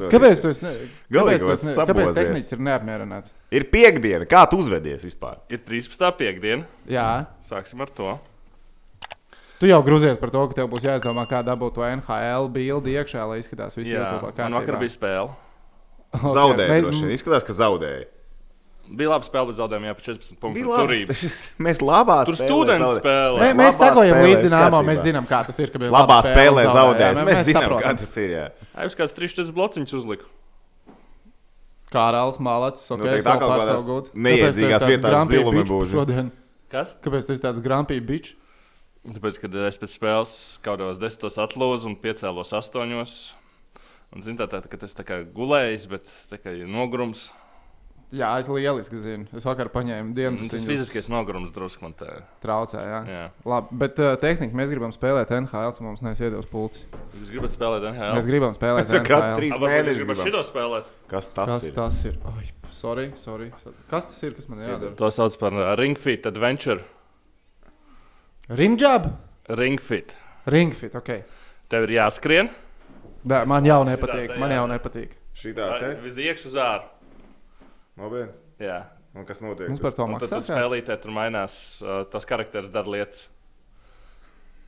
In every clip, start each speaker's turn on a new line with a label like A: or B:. A: Kāpēc tas ne... kāpēc
B: Galīgos
A: tas ne... kāpēc
B: sabozies.
A: tehnicis ir neapmierināts?
B: Ir piekdiena, kā tu uzvedies vispār?
C: Ir 13. piekdiena.
A: Jā,
C: Sāksim ar to.
A: tu jau grūzies par to, ka tev būs jāizdomā, kā dabūt to NHL bildi iekšā, lai izskatās viss
C: Jā,
A: YouTube kā
C: man vakar bija spēle.
A: okay.
B: Zaudēji, droši vien. Izskatās, ka zaudēji.
C: Bija laba spēle, bet zaudējām jau par 14 punktu.
B: Bija
C: Nu, Tur
B: labi.
C: bija
B: Mēs labā
C: Tur
B: spēlē
C: studenti
B: zaudējām.
C: spēlē.
A: Mē,
C: Labā
A: mēs sakojam
B: spēlē
A: līdzi dīnāmā,
B: skatībā.
A: mēs zinām, kā tas ir. ka bija
B: Labā spēlē
A: un
B: zaudējis.
A: Jā,
B: Mēs zinām, kā
A: saprotam.
B: tas ir. jā.
C: Aiz kāds 3-4 blociņus uzliku.
A: Kārlis Malacis, ok,
B: Nu, teikt,
A: so
B: atkal kaut
A: far so
B: kādās
A: good.
B: neiedzīgās
A: Kāpēc
B: vietās
A: tu esi tāds grumpy
B: zilumi
A: bitch
B: būs?
A: šodien?
C: Kas?
A: Kāpēc tu esi tāds grumpy bitch?
C: Tāpēc, kad es pēc spēles kaut kādos desmitos atlūzu un piecēlos astoņos. Un, zin, tā, tā, ka tas tā kā gulējis, bet tā kā ir nogrums.
A: Jā, es lieliski zinu. Es vakar
B: Mm,
A: paņēmu
C: Un
A: dienu.
C: Tas fiziskais nogrums drusku man tā.
A: traucē. Jā.
C: Jā.
A: Labi, bet uh, tehniski mēs gribam spēlēt NHL, tad mums neiedos pulci.
C: Jūs gribat spēlēt NHL?
A: Mēs gribam spēlēt
B: Tas ir kāds
A: NHL.
B: trīs
C: Ā, varbūt jūs
B: mēnešus.
C: gribat
B: gribam.
C: šito spēlēt.
B: Kas tas
A: Kas
B: ir?
A: tas ir? Ai, sorry, sorry. Kas tas ir, kas man jādara?
C: To sauc par uh, Ringfit Adventure.
A: Rimģab?
C: Ringfit.
A: Ringfit, ok.
C: Tev ir jāskrien.
A: Dā, man jau nepatīk.
C: tajā,
A: Man jau
C: jā.
A: nepatīk.
B: Šitā te?
C: Uz iekšā uz ārā.
B: Nopietni.
C: Jā.
B: Un kas notiek?
A: Mums par to
C: Un tad
A: maksā.
C: tur spēlītē tur mainās. Uh, tas karakteris dara lietas.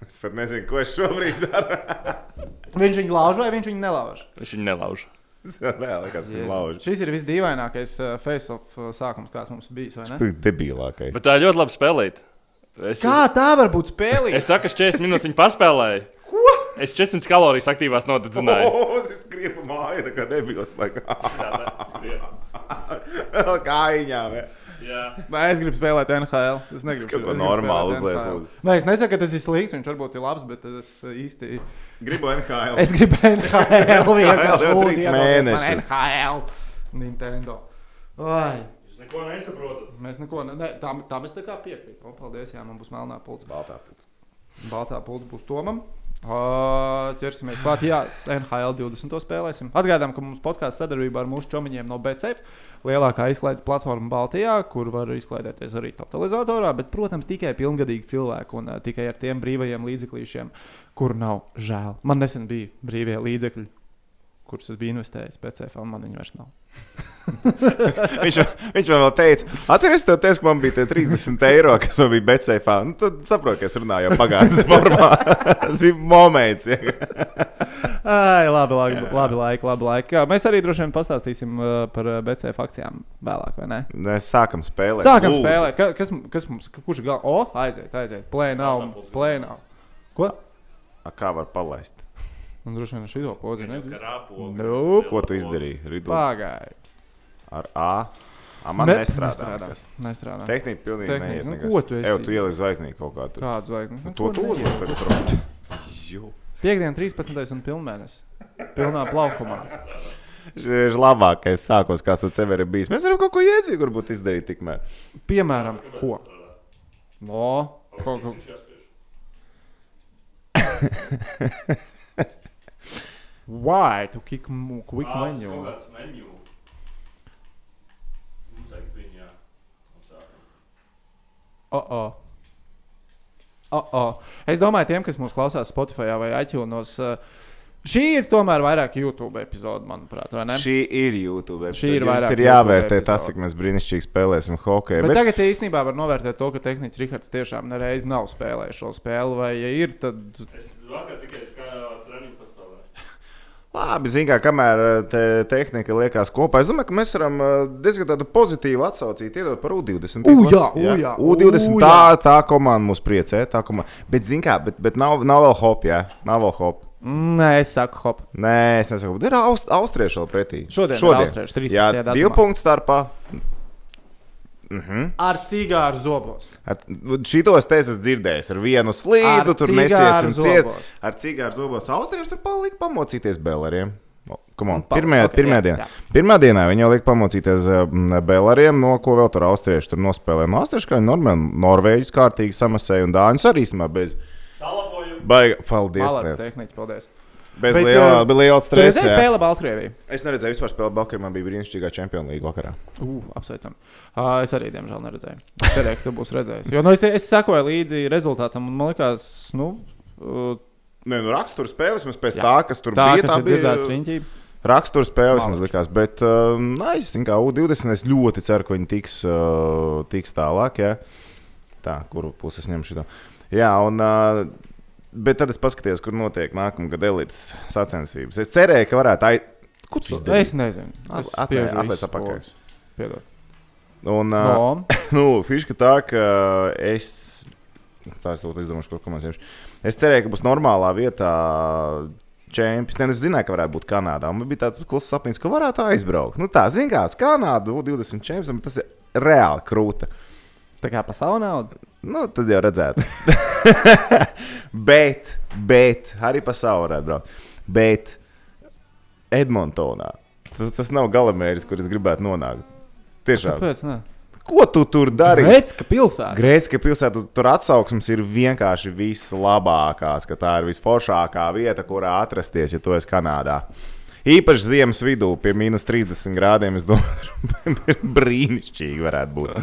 B: Es pat nezinu, ko es šobrīd daru.
A: Viņš viņu lauž vai viņš viņu nelauž?
C: Viņš viņu nelauž.
B: Nē, likās, tas ir lauži.
A: Šis ir visdīvainākais uh, face-off uh, sākums, kāds mums bijis. vai ne?
B: Debilākais.
C: Bet tā ir ļoti labi spēlēt. Es,
A: Kā tā var būt spēlīga?
C: es saku, es 40 minūtes viņa paspēlēju. Ko? Es 400 kalorijas aktīvās nodedzināju.
B: Uz skribi māja, tā kā debils. tā kā.
C: Oh.
B: Vēl Kājiņā. vē.
C: Jā.
A: Nē, es gribu spēlēt NHL. Es negribu
B: Es kaut ko
A: gribu
B: normālu
A: spēlēt
B: uzliec,
A: NHL.
B: lūdzu.
A: Nē, es nesaku, ka tas ir slikts. Viņš varbūt ir labs, bet es uh, īsti.
B: Gribu NHL.
A: Es gribu NHL. vienkārši
B: jau
A: lūdzu,
B: trīs
A: iedodiet man
B: mēnešus.
A: NHL. Nintendo. Ai.
C: Jūs neko nesaprotat.
A: Mēs neko nedarām. Tā mēs tā kā piekrītam. Paldies, jā, man būs melnā pulca.
B: Baltā pūlis.
A: Baltā pulca būs Tomam. Uh, ķersimies klāt. Jā, NHL 20. spēlēsim. Atgādām, ka mums podkāsts sadarbībā ar mūsu čomiņiem no BCF. Lielākā izklaides platforma Baltijā, kur var izklaidēties arī totalizatorā, bet, protams, tikai pilngadīgi cilvēki un uh, tikai ar tiem brīvajiem līdzeklīšiem, kur nav žēl. Man nesen bija brīvie līdzekļi, kurus es biju investējis BCF, un man viņi vairs nav.
B: Viņš, viņš man vēl teica, atcerieties, tev teicu, ka man bija tie 30 eiro, kas man bija BCF. Nu, tad saprotu, ka es runāju jau pagātnes formā. Tas bija moments. Ja.
A: Ai, labi, labi, labi, laiki, labi laiki. Jā, Mēs arī droši vien pastāstīsim uh, par uh, BCF akcijām vēlāk, vai ne?
B: Mēs Nu, sākam spēlēt.
A: Sākam
B: Lūdzu.
A: spēlēt. Ka- Kas, kas mums, kurš galā? O, aiziet, aiziet. Plēnām, plēnām. Ko?
B: A, Kā var palaist?
A: Un droši vien ar šito pozi nezinu.
C: Krāpo.
A: Nu,
B: Ko tu izdarīji? Ridu
A: Pagāji.
B: ar A. A man
A: Ne-
B: nestrādā.
A: nestrādā.
B: nekas.
A: Nestrādā.
B: Tehnika pilnīgi
A: Tehnika,
B: neiet.
A: nu,
B: nekas.
A: ko tu esi
B: Eju, tu ieliec zvaigznīti kaut kā. Tur.
A: Kādu zvaigzni? Nu,
B: To
A: ko
B: tu
A: neiet?
B: uzliec tagad prom. Jū.
A: Piektdien, 13. un pilnmēnesis. Pilnā plaukumā.
B: Šis ir labākais sākums, kāds mums sev ir bijis. Mēs varam kaut ko iedzīvot, varbūt izdarīt tikmēr.
A: Piemēram, ko? No. Ko, ko? Why? Tu kick mu- quick
C: Ah,
A: menu.
C: menu.
A: Oh, oh. Oh, oh. Es domāju, tiem, kas mūsu klausās Spotify vai iTunes, uh, šī ir tomēr vairāk YouTube epizode, manuprāt, vai ne?
B: Šī ir YouTube.
A: Šī ir
B: Jums
A: vairāk
B: ir jāvērtē
A: YouTube
B: tas,
A: epizode.
B: cik mēs brīnišķīgi spēlēsim hokeju.
A: Bet, bet
B: Bet,
A: tagad īstenībā var novērtēt to, ka tehnicis Rahards tiešām nereiz nav spēlējis šo spēli, vai ja ir, tad
C: Es vakar tikai skatos treniņu paspēlēju.
B: labi, zinām, kā kamēr eh, te tehnika liekas kopā, es domāju, ka mēs varam eh, diezgan tādu pozitīvu atsaucīt, iedot par U20.
A: U, jā,
B: izlasi.
A: U, jā, U,
B: U20 tā, tā komanda mūs priecē. Tā komanda. Bet, zinām, kā, bet, bet nav, nav vēl hop, jā, nav vēl hop.
A: Mm, nē, es saku, hop.
B: Nē, es nesaku, bet ir aust, austrieši vēl pretī.
A: Šodien ir austrieši, 13.
B: jā,
A: datumā.
B: divu punktu starpā.
A: Ar cigāru zobos.
B: Ar šitos te es esmu dzirdējis, ar vienu slīdu
A: Ar
B: tur
A: cigāru
B: nesiesim ciet.
A: zobos.
B: Ar cigāru zobos austrieši tur palika pamocīties bēlēriem. O, come on,
A: Nu, pal-
B: Pirmajā,
A: ok,
B: pirmajā,
A: jā,
B: dienā.
A: jā.
B: pirmajā dienā viņi jau liek pamocīties mm, bēlēriem, no ko vēl tur austrieši tur nospēlēja. No austriešu kā normāli, norvēģis kārtīgi samasēja un dāņus arī īstenībā bez.
C: Salaboju.
B: Baiga, paldies!
A: Paldies,
B: Nēc.
A: tehnicis, paldies.
B: Bez
A: Bet,
B: liela,
A: eh,
B: bez liela
A: Tur es
B: stresa. jā.
A: spēlēju Baltkrieviju.
B: Es neredzēju vispār spēli Balkānā, man bija brīnišķīgā čempionu līga vakarā.
A: Uh, apsveicam. Uh, es arī, diemžēl, neredzēju. Es cerēju, ka tu būsi redzējis. Jo nu, es, te- es sekoju līdzi rezultātam, un man liekas, nu, uh,
B: Nē, nu rakstura spēles, mēs pēc
A: Jā.
B: jā. tā, kas tur
A: tā,
B: bija,
A: kas ir dzirdēts riņķī.
B: Rakstura spēle vismaz
A: Malači.
B: likās, bet uh, aizsver, kā U20. Es ļoti ceru, ka viņi tiks, uh, tiks tālāk. Jā. Tā, kuru pusi es ņemšu? Šito? Jā, un. Uh, Bet tad es paskatījos, kur notiek nākamā gada elites sacensības. Es cerēju, ka varētu aiz... Kur tu
A: Izdarīt. Es
B: izdarīji?
A: nezinu. Es
B: Atpakaļ, atpakaļ, atpakaļ.
A: Piedod.
B: Un, uh,
A: No,
B: Nu, fiziski tā, ka es. Tā es ļoti izdomāju, ko komentēšu. Es cerēju, ka būs normālā vietā. Čempions. Ne, Es zināju, ka varētu būt Kanādā. Man bija tāds klusa sapnis, ka varētu aizbraukt. Nu, tā, zināms, kā uz Kanādu 20 čempions, tas ir reāli krūta.
A: tā kā pa savu naudu.
B: Nu, tad jau redzētu. bet, bet, arī pa savu varētu braukt. Bet Edmontonā tas, tas nav galamērķis, kur es gribētu nonākt. Tiešām.
A: Kāpēc? Nē,
B: Ko tu tur dari?
A: Redz, ka pilsēta.
B: Grēcka pilsēta, tur atsauksmes ir vienkārši vislabākās, ka tā ir visforšākā vieta, kurā atrasties, ja tu esi Kanādā. Īpaši ziemas vidū, pie minus 30 grādiem, es domāju, brīnišķīgi varētu būt.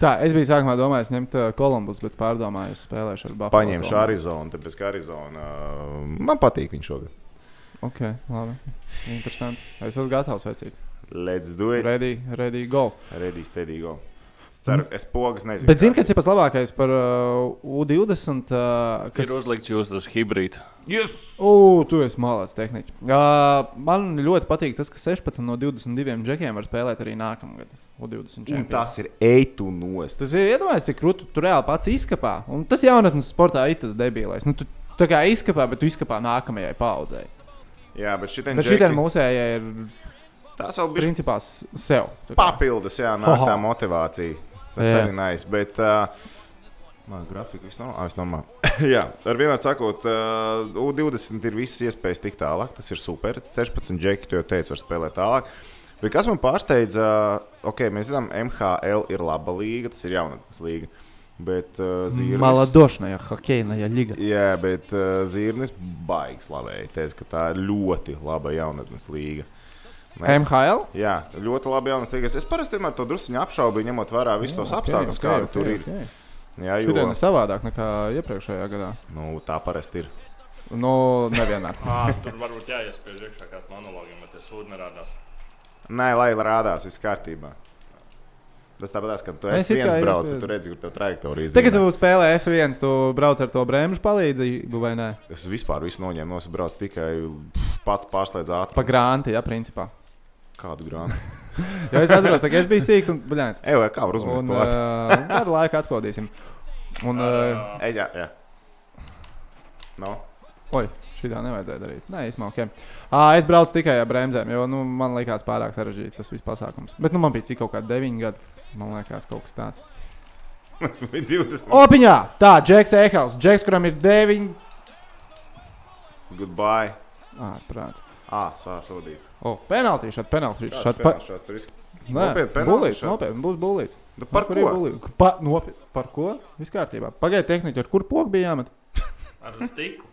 A: Tā, es biju sākumā domājis ņemt ā, Kolumbus, bet pārdomāju, es spēlēšu ar Buffalo.
B: Paņemšu Arizonu, tāpēc ka Arizona uh, man patīk viņš šogad.
A: Ok, labi. Interesanti. Es esmu gatavs veicīt.
B: Let's do it.
A: Ready, ready, go.
B: Ready, steady, go. Es ceru, es pogas nezinu.
A: Bet zini, kas ir pats labākais par uh, U20? Uh,
C: Kas
A: kas
C: ir uzlikts jūsu tas hibrīds?
B: Yes!
A: O, tu esi malāts tehniķis. Uh, man ļoti patīk tas, ka 16 no 22 džekiem var spēlēt arī nākamgad. U20
B: Un
A: čempionātā.
B: tas ir eitu nost.
A: Tas ir iedomājies, cik krūti tu reāli pats izkapā. Un tas jaunatnes sportā ir tas debilais. Nu, tu, tā kā izkapā, bet tu izkapā nākamajai paudzei.
B: Jā, bet šitien,
A: Bet šī
B: džeki-
A: ir mūsējai, ir
B: tās vēl bija
A: principā s- sev. tā kā.
B: papildus, jā, nāk tā
A: Hoho.
B: motivācija. Tas
A: Jā.
B: jā. arī nāc. Bet, uh, man grafika viss normāli. Ah, viss normāli. jā, ar vienmēr sakot, uh, U20 ir visas iespējas tikt tālāk. Tas ir super. 16 džeki, tu jau teici, var spēlēt tālāk. Bet kas man pārsteidza, ok, mēs zinām, MHL ir laba līga, tas ir jaunatnes līga. Bet uh, Zīrnis.
A: Maladošana, hokeja, liga.
B: Jā, bet uh, Zīrnis baigs slavēja. Teica, ka tā ir ļoti laba jaunatnes līga. Mēs-
A: MHL?
B: Jā, ļoti labi. Jaunas līgas. Es parasti vienmēr to drusku apšaubu, ņemot vērā visus tos apstākļus, kādi tur ir. Jā,
A: Okay.
B: jo
A: Šodien ir savādāk nekā iepriekšējā gadā.
B: nu, tā parasti ir.
A: Nu, nevienmēr.
C: Tur varbūt jāiespiež iekšā kāds monologiem, bet es sūdu nerādās.
B: Nē, lai rādās, viss kārtībā. Tas tāpat, ka tu
A: Es
B: esi
A: it kā
B: viens
A: jau
B: brauc,
A: tieši-
B: tad tu redzi, kur tev trajektorija ir.
A: Tagad, kad tu spēlē F1, tu brauc ar to brēmžu palīdzību vai nē?
B: Es vispār visu noņēmu, nosbraucu tikai pff, pats pārslēdz
A: Pa
B: ātrumu.
A: grānti, jā, principā.
B: Kādu grāmatu?
A: Jo es atceros, ka es biju sīgs un bļāns.
B: Ej, vai kā var uzmanīt
A: Un,
B: to vārdu?
A: uh, ar laiku atklāsim. Un, uh,
B: Ej, jā, jā. No.
A: oi, šī tā nevajadzēja darīt. Nē, īstenībā, ok. Uh, es braucu tikai ar bremzēm, jo nu, man liekas, pārāk sarežģīts tas viss pasākums. Bet nu, man bija cik kaut kādi 9 gadi. Man liekas, kaut kas tāds.
B: Esmu 20.
A: Opiņā! Tā, Džeks Eikals. Džeks, kuram ir 9.
B: Goodbye.
A: Ārprāts.
B: Ah, sāsodīt.
A: O, penaltīšu, šādi penaltīšu.
B: Šāds
A: Šādi pa...
B: penāls, šāds tur viss.
A: Nē,
B: Nopietni penalti
A: bulīts,
B: šādi?
A: nopietni, būs bulīts.
B: Nu, Par
A: Kur ir
B: ko?
A: bulīts? Pa, nopiet, par ko? Viss kārtībā. Pagaidiet, tehniķi, ar kur pogu bija jāmet?
C: Ar stiku.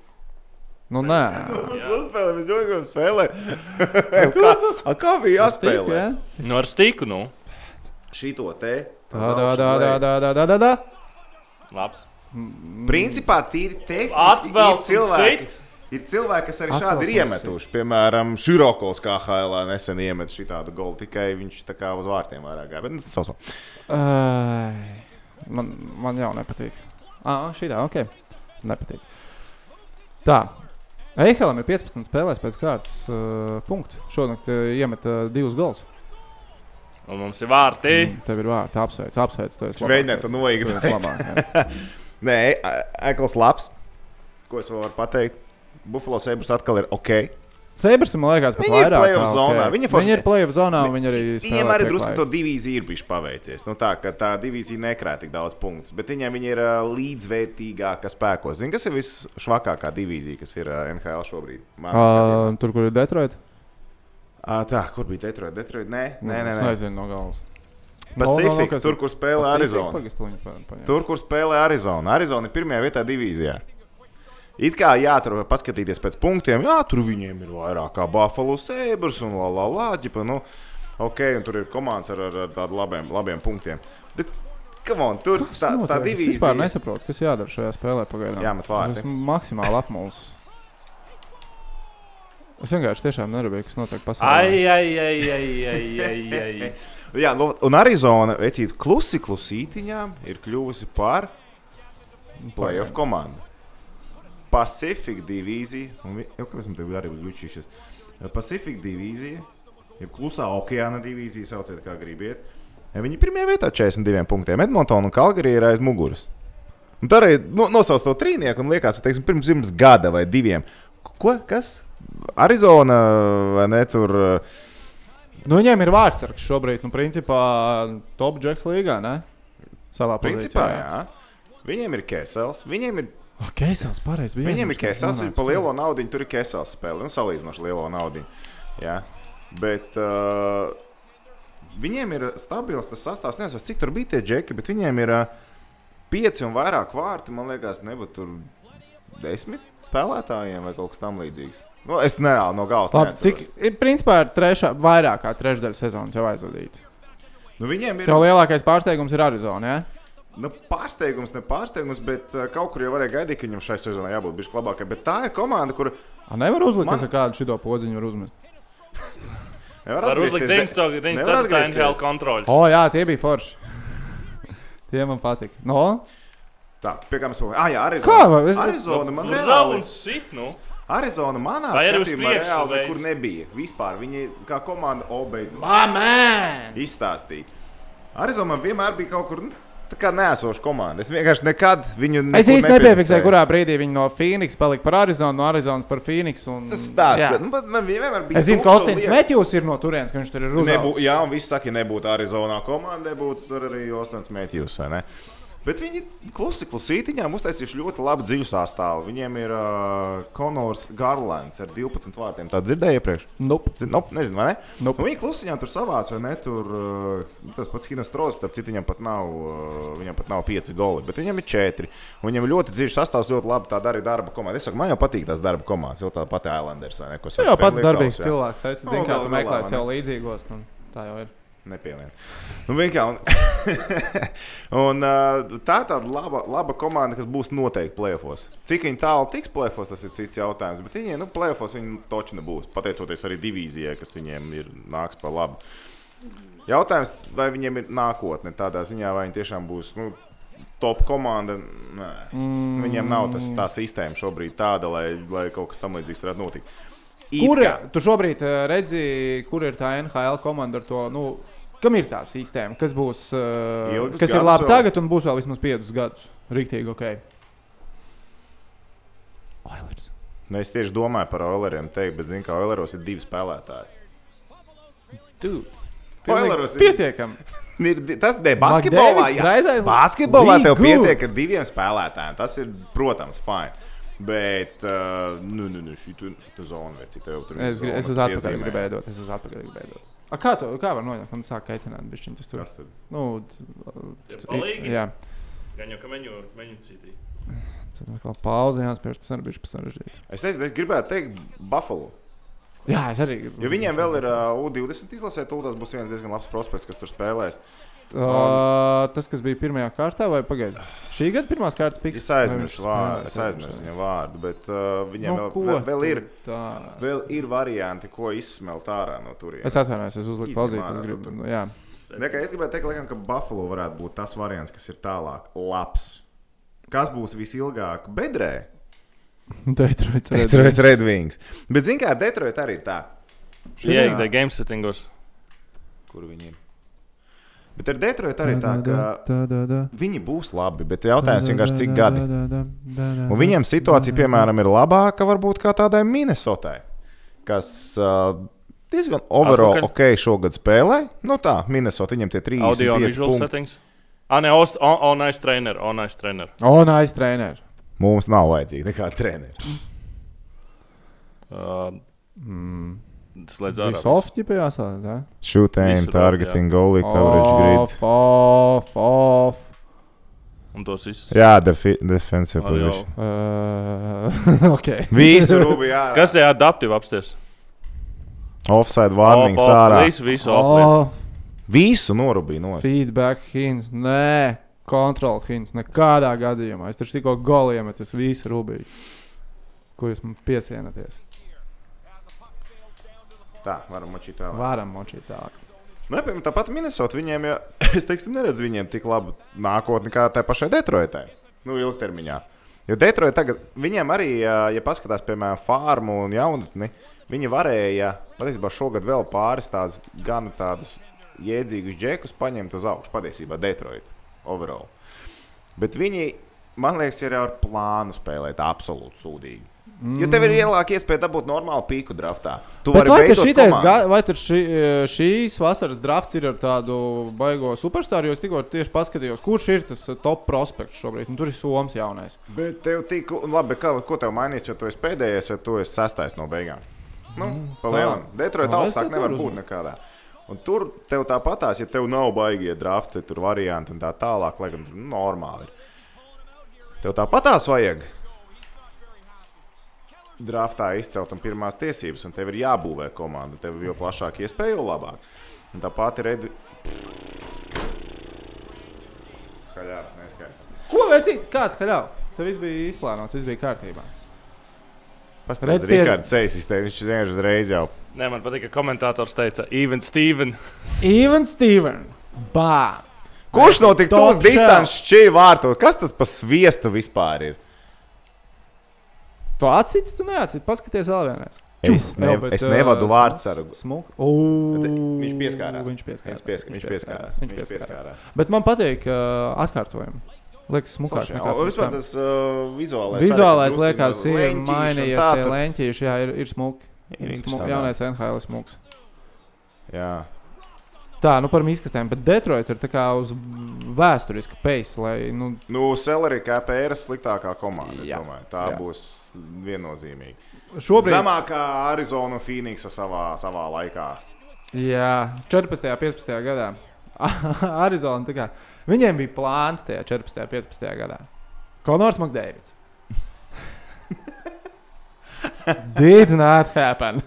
A: Nu, nē.
B: Mums uzspēlē, mēs jokiem spēlē. Ej, kā, a kā bija
A: Tik,
B: jāspēlē?
A: jā?
C: Nu, ar stiku, nu.
B: Šito te.
A: Tā, tā, tā, tā, tā, tā, tā, tā, tā.
C: Labs.
B: Principā tīri tehniski ir
C: Atvelk
B: cilvēki.
C: cilvēki.
B: Ir cilvēki, kas arī
A: Atvelc
B: šādi ir
A: un
B: iemetuši. Piemēram, Širokovs kā HLā nesen iemet šitādu golu, tikai viņš tā kā uz vārtiem vairāk gāja. Bet nu, tas savs.
A: Ai, Man, man jau nepatīk. Ah, šī tā, ok. Nepatīk. Tā. Eihelam ir 15 spēlēs pēc kārtas uh, punktu. Šonakt uh, iemet uh, divus golus.
C: Un mums ir vārti.
A: Mm, Tev ir vārds. Apsveic, apsveic. Tu esi
B: Viņš mēģināja to
A: Tu
B: noigrāt.
A: esi labākais.
B: Nē, Ekls labs. Ko es vēl varu pateikt? Buffalo Sabres atkal ir ok.
A: Sabres, man liekas, pat
B: Viņi ir
A: vairāk.
B: playoff zonā, viņi
A: Viņi,
B: forši-
A: viņi ir play-off zonā, un viņi arī.
B: Viņiem arī drusku to divīziju ir bijusi paveicies. Nu, tā, ka tā divīzija nekrāja tik daudz punktu, bet viņiem viņi ir ā, līdzvērtīgāka spēkos. Zini, kas ir visšvakākā divīzija, kas ir ā, NHL šobrīd? Man skatījumā.
A: Uh, tur, kur ir Detroit?
B: Ā, tā, kur bija Detroit? Detroit? Nē, nē, nē.
A: Es
B: nē.
A: nezinu no galvas.
B: Pacific, tur, kur spēlē Arizona.
A: Arizona.
B: Tur, kur spēlē Arizona. Arizona ir pirmajā vietā divīzijā. It kā jāatrod, paskatīties pēc punktiem, jā, tur viņiem ir vairāk kā Buffalo Sabres un Lapa. Nu, ok, un tur ir komandas ar, ar, ar tādiem labiem, labiem punktiem. Bet, come on, tur tā, tā
A: Es vispār
B: divīzija.
A: nesaprotu, kas jādara šajā spēlē pagaidām.
B: Jāmet vārti.
A: Esmu maksimāli apmuļs. Es vienkārši tiešām nerūpēju, kas notiek pasaulē.
C: Ai, ai, ai, ai, ai, ai, ai.
B: Jā, nu, un Arizona, vecīt, klusi klusītiņā ir kļuvusi par playoff komandu. Pacific divīzija, un vi- jau kāpēc man te arī bija ļučīšies. Pacific divīzija, jeb klusā okeāna divīzija, sauciet kā gribiet. Viņi ir pirmajā vietā ar 42 punktiem. Edmontona un Kalgarija ir aiz muguras. Un tā arī nu, nosauc to trīnieku, un liekas, ka teiksim, pirms, pirms gada vai diviem. Ko? Kas? Arizona vai ne tur? uh,
A: Nu, viņiem ir vārdsargs šobrīd, nu, principā top džeks līgā, ne? Savā
B: Principā, jā. Viņiem ir kesels, viņiem ir,
A: Keisels pareizi bija.
B: viņiem ir kesels, viņi pa lielo naudu tur ir kesels spēle, nu, salīdzinoši lielo naudu. Jā. Bet uh, viņiem ir stabils tas sastāvs, nezinu, cik tur bija tie džeki, bet viņiem ir uh, pieci un vairāk vārti, man liekas, nebūtu tur desmit spēlētājiem vai kaut kas tam līdzīgs. Nu, es nereāli no galvas
A: Labi,
B: neatceros.
A: cik, ir, principā, ir trešā, vairāk kā trešdaļa sezonas jau aizvadīta.
B: Nu, viņiem ir
A: Tev lielākais pārsteigums ir Arizona. Ja?
B: Nu, pārsteigums, ne pārsteigums, bet uh, kaut kur jau varēja gaidīt, ka viņam šai sezonai jābūt bišķi labākai. Bet tā ir komanda, kur
A: A, nevar uzlikt,
B: Man-
A: Man... kādu šo podziņu var uzmest.
B: nevar
C: Var
B: atgriezties
C: uzlikt
B: de-
C: 94.
B: nevar atgriezties. Oh,
C: NHL kontroli.
A: O, jā, tie bija forši. tie man patika. No?
B: Tā, pie kā mēs runājam? Ah, jā,
A: Kā?
B: Arizona.
A: vai Es...
B: Arizona man
C: Nav Nu, un
B: reāli,
C: sit, nu.
B: Arizona manā
C: Vai arī uz
B: skatījumā
C: priekšu
B: reāli
C: reiz?
B: nekur nebija. Vispār viņi kā komanda obeidzās.
A: Mamē!
B: Izstāstīja. Arizona man vienmēr bija kaut kur nu, tā kā nesoša komanda. Es vienkārši nekad viņu
A: Es
B: nekur
A: īsti nepiefiksēju,
B: nepiefiksēju.
A: kurā brīdī viņi no Phoenix palika par Arizonu, no Arizonas par Phoenix. Un...
B: Tas stāsts.
A: Jā.
B: Nu, bet man vienmēr bija.
A: Es zinu, ka
B: tukša
A: Kostins
B: lieta.
A: Metjūs ir no turienes, ka viņš tur ir
B: Nebū,
A: uzmanīgs.
B: jā, un viss saka, ja nebūtu Arizonā komandai, būtu tur arī Osakas Mētjūs. Bet viņi klusi klusītiņām uztaisījuši ļoti labu dziļu sastāvu. Viņiem ir uh, Konors Garlands ar 12 vārtiem. Tā dzirdēja iepriekš.
A: Nope.
B: Zin, nu, nezinu, vai ne?
A: Nope.
B: Un viņi klusiņā tur savāca, vai ne? Tur uh, tas pats Hinas Strūds, starp citu, viņam pat nav, uh, viņam pat nav pieci goli, bet viņam ir četri. Un viņam ir ļoti dziļš sastāvs, ļoti labi tā arī darba komanda. Es saku, man jau patīk tās darba komandas, jau tā pati Islanders vai ne? Ko
A: Tu
B: saka
A: jau pats
B: Penlikavs,
A: darbīgs
B: jā.
A: cilvēks. Es
B: Nu,
A: zinu, kā
B: galu
A: tu
B: galā,
A: meklē
B: vai ne?
A: sev līdzīgos. Nu, tā jau ir.
B: Nepielienam. Nu, vienkār- un, un, uh, tā ir tāda laba, laba komanda, kas būs noteikti plēfos. Cik viņi tālu tiks plēfos, tas ir cits jautājums. Bet viņi, nu, plēfos viņi taču nebūs. Pateicoties arī divīzijai, kas viņiem ir nāks par labu. Jautājums, vai viņiem ir nākotne tādā ziņā, vai viņi tiešām būs nu, top komanda. Nē. Mm. Viņiem nav tas, tā sistēma šobrīd tāda, lai, lai kaut kas tamlīdzīgs varētu notikt. It
A: Kur
B: kā-
A: tu šobrīd eh, redzi, kur ir tā NHL komanda ar to? Nu, Kam ir tā sistēma, kas būs, eh,
B: Ilgus
A: kas ir
B: gadus
A: labi
B: vēl.
A: tagad un būs vēl vismaz 5 gadus? Rīktīgi, ok. Oilers.
B: Nu, es tieši domāju par Oileriem, teikt, bet zinu, ka Oileros ir divi spēlētāji. Oileros ir-
A: Pietiekami.
B: Ir, di- tas ir basketbolā.
A: McDavids,
B: Jā,
A: Draisaitls,
B: basketbolā
A: Lee
B: tev
A: Good.
B: pietiek ar diviem spēlētājiem. Tas ir, protams, fine. Bet, uh, nu, nu, nu šī tu- tu zona vai cita jau tur ir.
A: Es, gri- es uz atpakaļ gribēju dot. Es uz atpakaļ gribēju dot. A, kā, to, kā var noņemt? Man sāk kaitināt, bet viņš tur
B: Kas tad?
A: nu, t-
C: Ir
A: t-
C: palīgi?
A: Jā,
C: Gan jau ka meņu, meņu citī.
A: tad atkal pauze jāspēj, tas arī bija sarežģīti.
B: Es nezinu, es gribēju teikt Buffalo.
A: Jā, es arī.
B: Jo viņiem vēl ir uh, U20 izlasē, tad tas būs viens diezgan labs prospekts, kas tur spēlēs.
A: Uh, tas, kas bija pirmajā kārtā, vai pagaidiet? Šī gada pirmā kārtas piks.
B: Es aizmirsu vārdu, es aizmirsu viņa vārdu, bet uh, viņiem
A: Nu,
B: vēl,
A: ko
B: vēl, vēl, ir,
A: tu Tā...
B: vēl ir varianti, ko izsmelt ārā no turienes.
A: Es atvainojos, es uzliku
B: Izņem
A: pauzīt.
B: ārā
A: Es
B: to
A: gribu.
B: tur.
A: Nu, jā.
B: Ne, kā es gribēju teikt, laikam, ka Buffalo varētu būt tas variants, kas ir tālāk. Labs. Kas būs visilgāk? Bedrē.
A: Detroits. Red Wings.
B: Redvings. Bet, zināmā mērā, Detroit arī ir tā,
C: Ieeik te game settingos.
B: kur viņi ir. Bet ar Detroit arī ir tā, ka viņi būs labi. Bet jautājums vienkārši, cik gadi. Un viņiem situācija, piemēram, ir labāka varbūt kā tādai Minnesotai, kas uh, diezgan overall ok
C: Atpakaļ.
B: šogad spēlē. Nu tā, Minnesota viņiem tie
C: Audio
B: 35
C: visual
B: punkti.
C: settings. Ah, ne, ost- on- on-ice trainer, on-ice trainer.
A: O, nē, es trenēju.
B: Mums nav vajadzīga nekāda trenera.
C: Uh, Slēdz
A: Viņš
C: ārā.
A: ir softs, ja jāsaka. tā?
B: Shoot aim,
C: Visu
B: targeting, goalie coverage
A: Off,
B: grid.
A: off, off.
C: Un tos visus.
B: Jā, defi defensive
C: Audio.
B: position.
A: Uh, okay.
B: Visu rubi, jā.
C: Kas ir adaptīvi apsties?
B: Offside warnings
C: Off,
B: off,
C: off,
B: ārā.
C: Visu, visu oh.
A: Oh,
B: Visu norubīja no.
A: feedback hints. Nē, kontrol hints. Nekādā gadījumā. Es taču tikko goliem metu visu rubīju. Ko jūs man piesienaties?
B: Tā, varam mačīt tālāk.
A: Varam močīt tālāk.
B: Nu, piemēram, tāpat Minnesota viņiem, ja, es teiksim, neredzu viņiem tik labu nākotni kā tai pašai Detroitai. Nu, ilgtermiņā. Jo Detroit tagad, viņiem arī, ja ja paskatās, piemēram, farmu un jaunatni, viņi varēja patiesībā šogad vēl pāris tādus gan tādus jēdzīgus džekus paņemt uz augšu, patiesībā Detroit overall. Bet viņi, man liekas, ir ar plānu spēlēt absolūti sūdīgi. Mm. Jo tev ir lielāka iespēja dabūt normālu pīku draftā. Tu
A: Bet
B: vari
A: vai tas
B: veidot
A: šitais,
B: komandu.
A: ga, vai tad šī, šīs vasaras drafts ir ar tādu baigo superstarju? Jo es tikko tieši paskatījos, kurš ir tas eh, top prospekts šobrīd. Un tur ir Somijas jaunais.
B: Bet tev tik, un labi, kā, ko tev mainīs, ja tu esi pēdējais, ja tu esi sastais no beigām? Nu, palielam.
A: Mhm. tā.
B: Detroit
A: Nu, es
B: augstāk
A: te
B: nevar
A: tur
B: būt
A: uzmanīgs.
B: nekādā. Un tur tev tāpatās, ja tev nav baigie drafti, tur varianti un tā tālāk, lai gan tur nu, normāli ir. Tev tāpatās vajag draftā izcelt un pirmās tiesības, un tev ir jābūvē komanda. Tev jo plašāk iespēja, jo labāk. Un tāpat ir Edi... Kaļāps neskaidrs.
A: Ko vecīt? Kāda haļā? Tev viss bija izplānots, viss bija kārtībā.
B: Pastāstiet,
A: tie-
B: Rikārds, sejas izteicis, viņš vienkārši uzreiz jau
C: Nē, man patīk, ka komentātors teica, Even Steven.
A: Even Steven. Bā!
B: Kurš no tik
A: Top
B: tūs
A: shelf.
B: distances šķīra vārtu? Kas tas par sviestu vispār ir?
A: Tu atciti, tu neatciti. Paskaties vēl vienreiz.
B: Es,
A: Čum!
B: ne,
A: Jā, bet,
B: es nevadu
A: eh,
B: vārdu sargu.
A: Smuk.
B: Viņš pieskārās.
A: Viņš pieskārās.
B: Oh. Viņš pieskārās. Viņš pieskārās.
A: Viņš pieskārās. Bet man patīk uh, atkārtojumi. Liekas, smukāk. nekā
B: Un
A: pirms
B: vispār
A: tam.
B: tas uh, vizuālais.
A: nu Vizuālais liekas, ir mainījies.
B: Tā
A: Tie lēņķīši, jā, ir, ir smuki.
B: Ir
A: Ir smuki.
B: interesanti.
A: Jaunais NHL ir smuks.
B: Jā.
A: Tā, nu par mīkstiem, bet Detroit ir tā kā uz vēsturiska peisa, lai, nu,
B: Nu, Celery KPR ir sliktākā komanda. es
A: Jā.
B: domāju. Tā
A: Jā.
B: būs viennozīmīga.
A: šobrīd.
B: Zemākā Arizona un Phoenixa savā, savā laikā.
A: Jā, 14. un 15. gadā. Arizona. tā Kā, viņiem bija plāns tajā 14. un 15. gadā. Konors Makdēvids. Did not happen.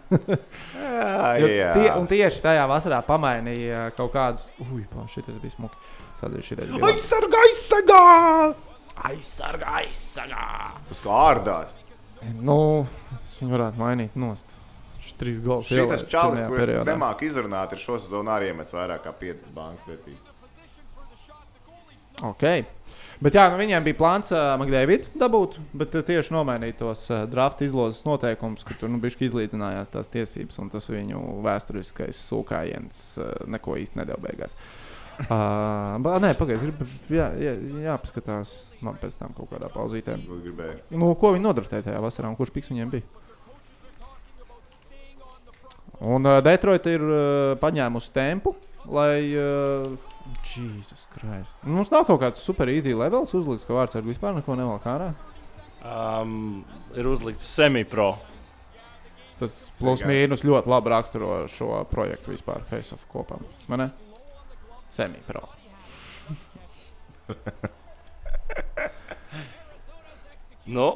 B: Jā,
A: Jo
B: jā.
A: Tie, un tieši tajā vasarā pamainīja kaut kādus. Ugh, šis bija smuki. Sadzīju, šitais bija labs.
B: Aizsargā, aizsargā! Aizsargā, aizsargā! Uz kārdās!
A: Nu, viņi varētu mainīt nost. Šis trīs gols.
B: Šis
A: ielaiž
B: čalis,
A: pirmajā
B: kurš
A: periodā.
B: nemāķi izrunāt, ir šosezon arī iemetis vairāk kā 5 bankas vecību.
A: Okay. Bet jā, nu viņiem bija plāns uh, Makdēvidu dabūt, bet uh, tieši nomainīja tos uh, drafta izlozes noteikumus, ka tur nu, bija izlīdzinājās tās tiesības, un tas viņu vēsturiskais sūkājiens uh, neko īsti nedēļa beigās. Uh, ba, nē, pagaidiet, jā, jā, jāpaskatās man pēc tam kaut kādā pauzītē.
B: Būtu gribēju.
A: Nu, ko viņi nodarīja tajā vasarā, un kurš piks viņiem bija? Un uh, Detroita ir uh, paņēmusi tempu, lai. Uh, Jēzus Kristus. Nu, Mums nav kaut kāds super easy levels uzlikts, ka vārds ar vispār neko nevelk ārā.
C: Um, ir uzlikts semi-pro.
A: Tas plus mīnus ļoti labi raksturo šo projektu vispār, Face of kopā. Vai ne? Semi-pro.
C: Nu,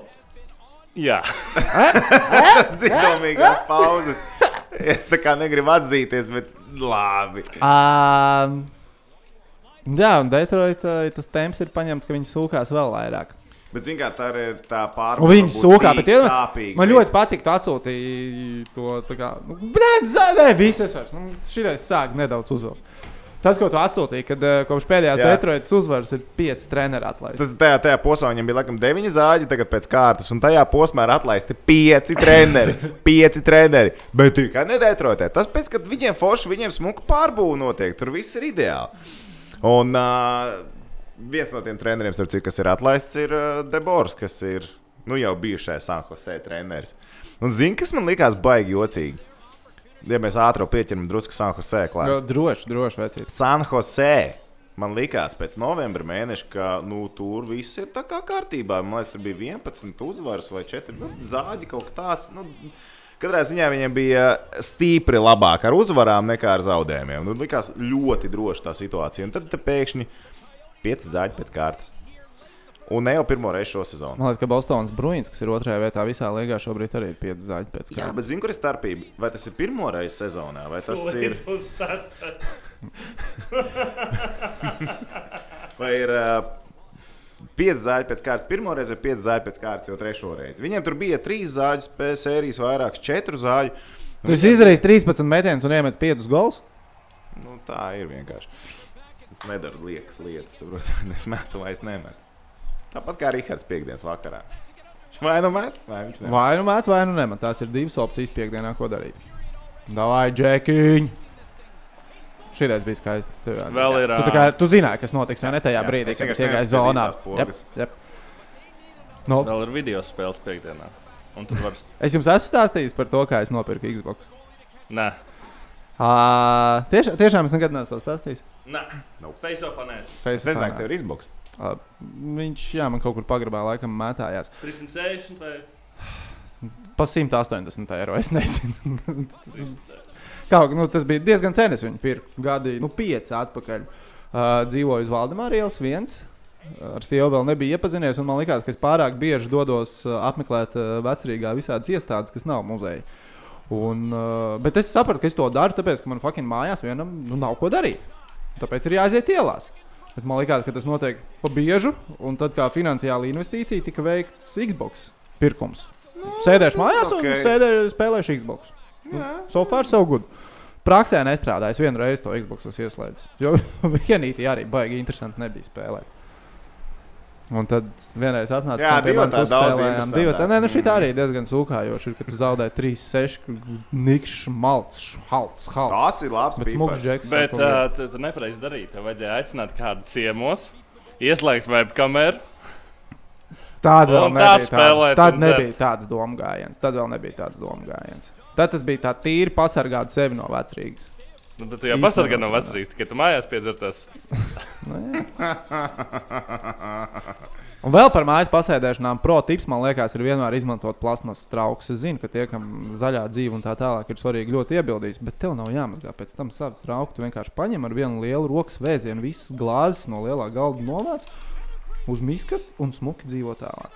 C: jā.
B: Tas dziļākās pauzes. Es tā kā negribu atzīties, bet labi.
A: Um, jā, un Detroitā tas temps ir paņemts, ka viņi sūkās vēl vairāk.
B: Bet, zināmā mērā, tā ir tā
A: Un
B: pārmaiņa.
A: viņi sūkā, bet
B: ir
A: iedomā-
B: sāpīgi.
A: Man ļoti patīk, ka atsūtīja to tādu. Brīdī, nē, viss es vairs. Nu, šitais sāk nedaudz uzvilkt. Tas, ko tu atsūtīji, kad eh, kopš pēdējās
B: Jā.
A: Detroitas uzvaras ir pieci treniņi atlaisti.
B: Tas tajā, tajā posmā viņam bija laikam 9 zāģi, tagad pēc kārtas, un tajā posmā ir atlaisti 5 treneri. 5 treneri. Bet tikai nedētrotē. Tas pēc, kad viņiem forši, viņiem smuka pārbūve notiek, tur viss ir ideāli. Un uh, viens no tiem treneriem, starp citu, kas ir atlaists, ir uh, Debors, kas ir nu, jau bijušais Sanhosē treneris. Un zini, kas man likās baigi jocīgi? Ja mēs ātrāk pieķeram drusku Sanhosē klāt.
A: Jo, Droši, droši vecīt.
B: Sanhosē. Man likās, pēc novembra mēneša, ka nu, tur viss ir tā kā kārtībā. Man liekas, tur bija 11 uzvaras vai 4 nu, zāģi kaut kas tāds. Nu, katrā ziņā viņiem bija stīpri labāk ar uzvarām nekā ar zaudējumiem. Nu, likās ļoti droši tā situācija. Un tad te pēkšņi 5 zāģi pēc kārtas. Un ne jau pirmo reizi šo sezonu.
A: Man liekas, ka Bostonas Bruins, kas ir otrajā vietā visā līgā, šobrīd arī ir pieci zāģi pēc
B: Jā,
A: kārtas.
B: bet zinu, kur ir starpība. Vai tas ir pirmo reizi sezonā, vai tas ir.
C: uz sastāvdaļu.
B: Vai ir uh, pieci zāļi pēc kārtas pirmo reizi, vai pieci zāļi pēc kārtas jau trešo reizi? Viņiem tur bija trīs zāļu spēles, sērijas vairākas, četru zāļu.
A: Tu esi izdarījis 13 metienus un iemetis 5 gols.
B: Nu, tā ir vienkārši. Es nedaru liekas lietas, saprotiet, es metu vai es nemetu. Tāpat kā Rīgards piekdienas vakarā. Viņš vai nu met, vai viņš nemet.
A: Vai nu met, vai nu nemet. Tās ir divas opcijas piekdienā, ko darīt. Davai, Džekiņ! Šī reize bija skaista. Tev jāatzīst.
C: Vēl ir, um,
A: Tu, tā kā, tu zināji, kas notiks vai ne tajā
B: Jā,
A: brīdī,
B: es
A: kad es
B: vienkārši neskatījos
A: iegāju zonā.
B: tās pogas.
A: jep. No,
C: Vēl ir video spēles piekdienā. Un tad var.
A: es jums esmu stāstījis par to, kā es nopirku Xbox.
C: Nē,
A: Uh, tieš, tiešām es nekad neesmu to stāstījis.
C: nē,
B: Nope.
C: Facebook nē.
B: Es nezinu, kā tev ir izboks.
A: Uh, viņš jā, man kaut kur pagrabā laikam mētājās.
C: 360 vai
A: Pa 180 eiro. Es nezinu.
C: 360.
A: Kaut, nu, tas bija diezgan cenas viņa pirka. Gadi nu, pieci atpakaļ. Uh, dzīvoju uz Valdemāra ielas viens. Uh, Ar sievu vēl nebija iepazinies, un man liekas, ka es pārāk bieži dodos uh, apmeklēt uh, vecrīgā visādas iestādes, kas nav muzeja. Un, uh, bet es sapratu, ka es to daru, tāpēc, ka man fucking mājās vienam nu, nav ko darīt. Tāpēc ir jāaiziet ielās. Bet man liekas, ka tas notiek pa biežu, un tad kā finansiāla investīcija tika veikts Xbox pirkums. Sēdēšu mājās
B: ok.
A: okay. un sēdēšu, spēlēšu Xbox. So far, so good. Praksē nestrādāju. Es vienu reizi to Xbox esmu ieslēdzis. Jo vienīgi arī baigi interesanti nebija spēlēt. Un tad vienreiz atnāca
B: Jā,
A: pie
B: divi
A: manis
B: tā daudz
A: uzspēlējām
B: interesantāk.
A: divi tā- Nē, nu šī tā arī diezgan sūkājoša. Ir, ka tu zaudē 3-6 nikšs, malts, halts, halts.
B: Tās ir labs
A: Bet smūgs
B: pīpārs.
A: džeks.
C: Bet
A: sako,
C: uh, tu, tu nepareizi darīji. Tev vajadzēja aicināt kādu ciemos, ieslēgt webkameru.
A: Tāda vēl
C: Un tā
A: nebija. Tāda,
C: spēlēt
A: tad
C: un
A: nebija tāds domu gājiens. Tad vēl nebija tāds domu gājiens. Tad tas bija tā tīri pasargāt sevi no vecrīgas.
C: Nu, tad tu jau
A: Īsti
C: pasargā no
A: nav.
C: vecrīs, tikai tu mājās piedzerties.
A: Nu, jā. Un vēl par mājas pasēdēšanām. Pro-tips, man liekas, ir vienmēr izmantot plasmas trauks. Es zinu, ka tie, kam zaļā dzīve un tā tālāk ir svarīgi, ļoti iebildīs, bet tev nav jāmazgā pēc tam savu trauku. Tu vienkārši paņem ar vienu lielu rokas vēzienu, visas glāzes no lielā galda novāc uz miskastu un smuki dzīvo tālāk.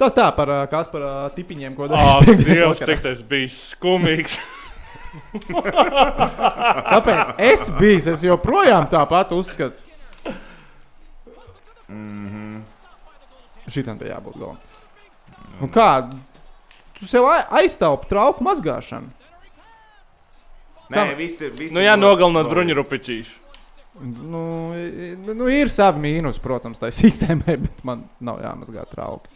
A: Tas tā par ā, kas par ā, tipiņiem, ko
C: Ak,
A: darām.
C: Dievs, cik tas bija skumīgs.
A: Kāpēc? Es biju, es joprojām tāpat uzskatu.
B: Mhm.
A: Šitam bija jābūt galam. Nu, kā? Tu sev ai- aiztaupi trauku mazgāšanu.
B: Nē,
A: Kam?
B: viss ir. viss
C: Nu
B: ir
C: jā,
B: labi.
C: nogalinot bruņurupičīšu.
A: Nu, i- i- nu, ir savi mīnus, protams, tai sistēmai, bet man nav jāmazgā trauki.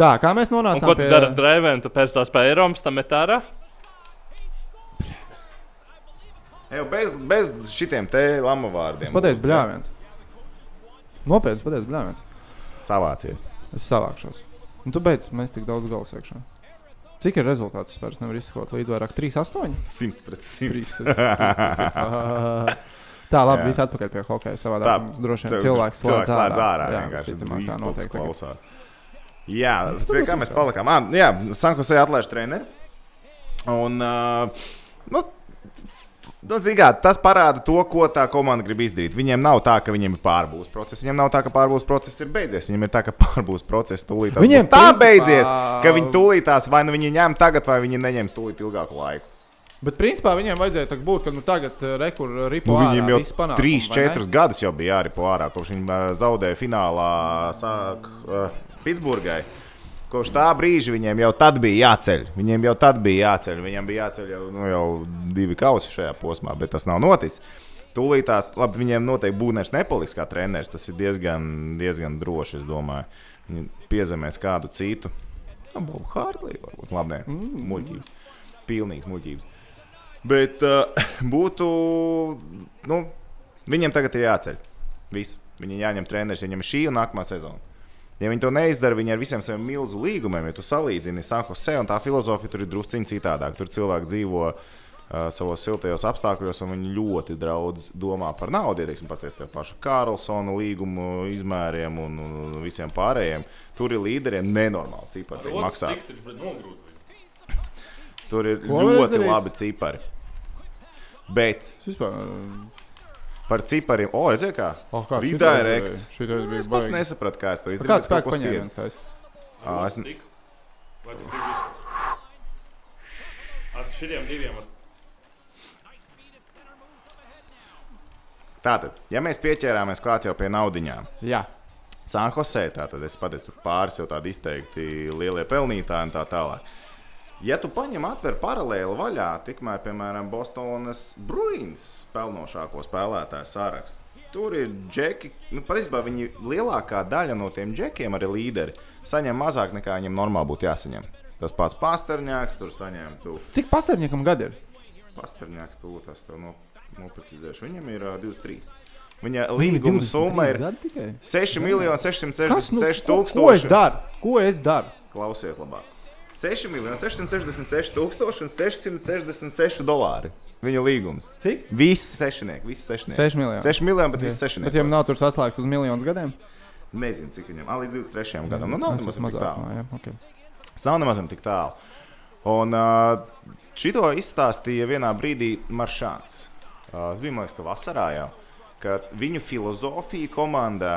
A: Tā, kā mēs
C: Un
A: nonācām
C: ko tu dari ar
A: pie
C: drēbēm? Tu pēc tās pērams, tam metārā.
B: Ej, Bez, bez šitiem te lamavārdiem.
A: Es pateicu,
B: lūdzu, jā.
A: bļāviens. Nopietni, pateicu, bļāviens.
B: Savācies.
A: Es savākšos. Un tu beidz, mēs tik daudz galvas iekšā. Cik ir rezultāts? Es vairs nevaru izsekot līdz vairāk 3, 8.
B: 100 pret 100.
A: 3, 5. Tā, labi,
B: Jā.
A: viss atpakaļ pie hokeja. Savādāk
B: Tā,
A: mums droši vien
B: Tev
A: cilvēks
B: cilvēks
A: slēdz
B: slēdz ārā.
A: Jā,
B: vienkārši,
A: visticamāk,
B: viss kaut
A: tā
B: kas
A: notiek. tagad. Nu,
B: klausās. Jā, pie kā mēs palikām? Ah, jā, Sankosē atlaiž treneri. Un, uh, nu, Nu, Zinām, tas parāda to, ko tā komanda grib izdarīt. Viņiem nav tā, ka viņiem ir pārbūves process. Viņiem nav tā, ka pārbūves process ir beidzies. Viņiem ir tā, ka pārbūves process tūlīt tās
A: Viņiem
B: būs tā
A: principā-
B: beidzies, ka viņi tūlīt tās vai nu viņi ņem tagad, vai viņi neņems tūlīt ilgāku laiku.
A: Bet, principā, viņiem vajadzēja tā būt, ka nu, tagad rekurors arī
B: Nu, viņiem jau
A: panākt.
B: 3, 4 gadus jau bija arī porā, kopš viņi ā, zaudēja finālā sāk, uh, Pitsburgai. Kopš tā brīža viņiem jau tad bija jāceļ. Viņiem jau tad bija jāceļ. Viņiem bija jāceļ jau, nu, jau divi kausi šajā posmā, bet tas nav noticis. Tūlīt tās, labi, viņiem noteikti būnēs nepaliks kā treneris. Tas ir diezgan, diezgan droši, es domāju. Viņi piezemēs kādu citu. Nu, Bobu Hārtlī, varbūt. Labi, nē,
A: Mm.
B: muļķības. Pilnīgs muļķības. Bet uh, būtu, nu, viņiem tagad ir jāceļ. Viss. Viņiem jāņem treneris, viņiem ir šī un nākamā sezona. Ja viņi to neizdara, viņi ar visiem saviem milzu līgumiem, ja tu salīdzini Sanhosē, un tā filozofija tur ir drusciņā citādāk. Tur cilvēki dzīvo uh, savos siltajos apstākļos, un viņi ļoti daudz domā par naudu. Ieteiksim, paskatieties pie paša Karlsona līgumu izmēriem un, un, un visiem pārējiem. Tur ir līderiem nenormāli cipari, ko viņi maksā. Tur ir
A: Ko var
B: ļoti
A: izdarīt?
B: labi cipari. Bet
A: Vispār, eh,
B: par cipariem, o, redzēji, kā?
A: oh, kā,
B: Redirects.
A: Šī tas bija
B: Es pats
A: baigi.
B: nesapratu, kā es to
A: Ar
B: izdarīju.
A: Kāds
B: bet kaut
A: spēks
B: ko spiedu.
A: paņēmiens taisa?
B: Ā, es-
C: Ar šiem diviem.
B: Tātad, ja mēs pieķērāmies klāt jau pie naudiņām,
A: Jā.
B: Sanhosē, tātad es pateicu, tur pāris jau tādi izteikti lielie pelnītāji un tā tālāk. Ja tu paņem atver paralēli vaļā, tikmēr, piemēram, Bostonas Bruins pelnošāko spēlētāju sārakstu, tur ir džeki, nu, patiesībā viņi lielākā daļa no tiem džekiem, arī līderi, saņem mazāk nekā viņiem normāli būtu jāsaņem. Tas pats pastarņāks, tur saņem tu
A: Cik pastāvniekam gadi ir?
B: pastarņāks, tu tas tev no, noprecizēšu. Viņam ir uh, 23. Viņa līguma Nu, summa ir
A: Nu, gadi tikai. nu,
B: 6 miljoni 666
A: ko, ko es
B: tūkstoši.
A: daru? Ko es daru?
B: Klausies labāk. 6 miljoni 666 tūkstoši un 666 dolāri. Viņa līgums.
A: Cik?
B: Visi sešnieki, visi sešnieki.
A: 6 miljoni.
B: 6 miljoni, bet
A: Jā.
B: visi sešnieki.
A: Bet viņam nav tur saslēgts uz miljonus gadiem.
B: Nezinu, cik viņam. Ah, līdz 23 gadam. Nu, nav
A: Es
B: nemaz
A: esmu
B: tik tālu.
A: no, jā, okay.
B: Tas nav nemaz tik tālu. Un uh, šito izstāstīja vienā brīdī Maršāns. Uh, es biju mākslinieks, ka vasarā jau ka viņu filozofija komandā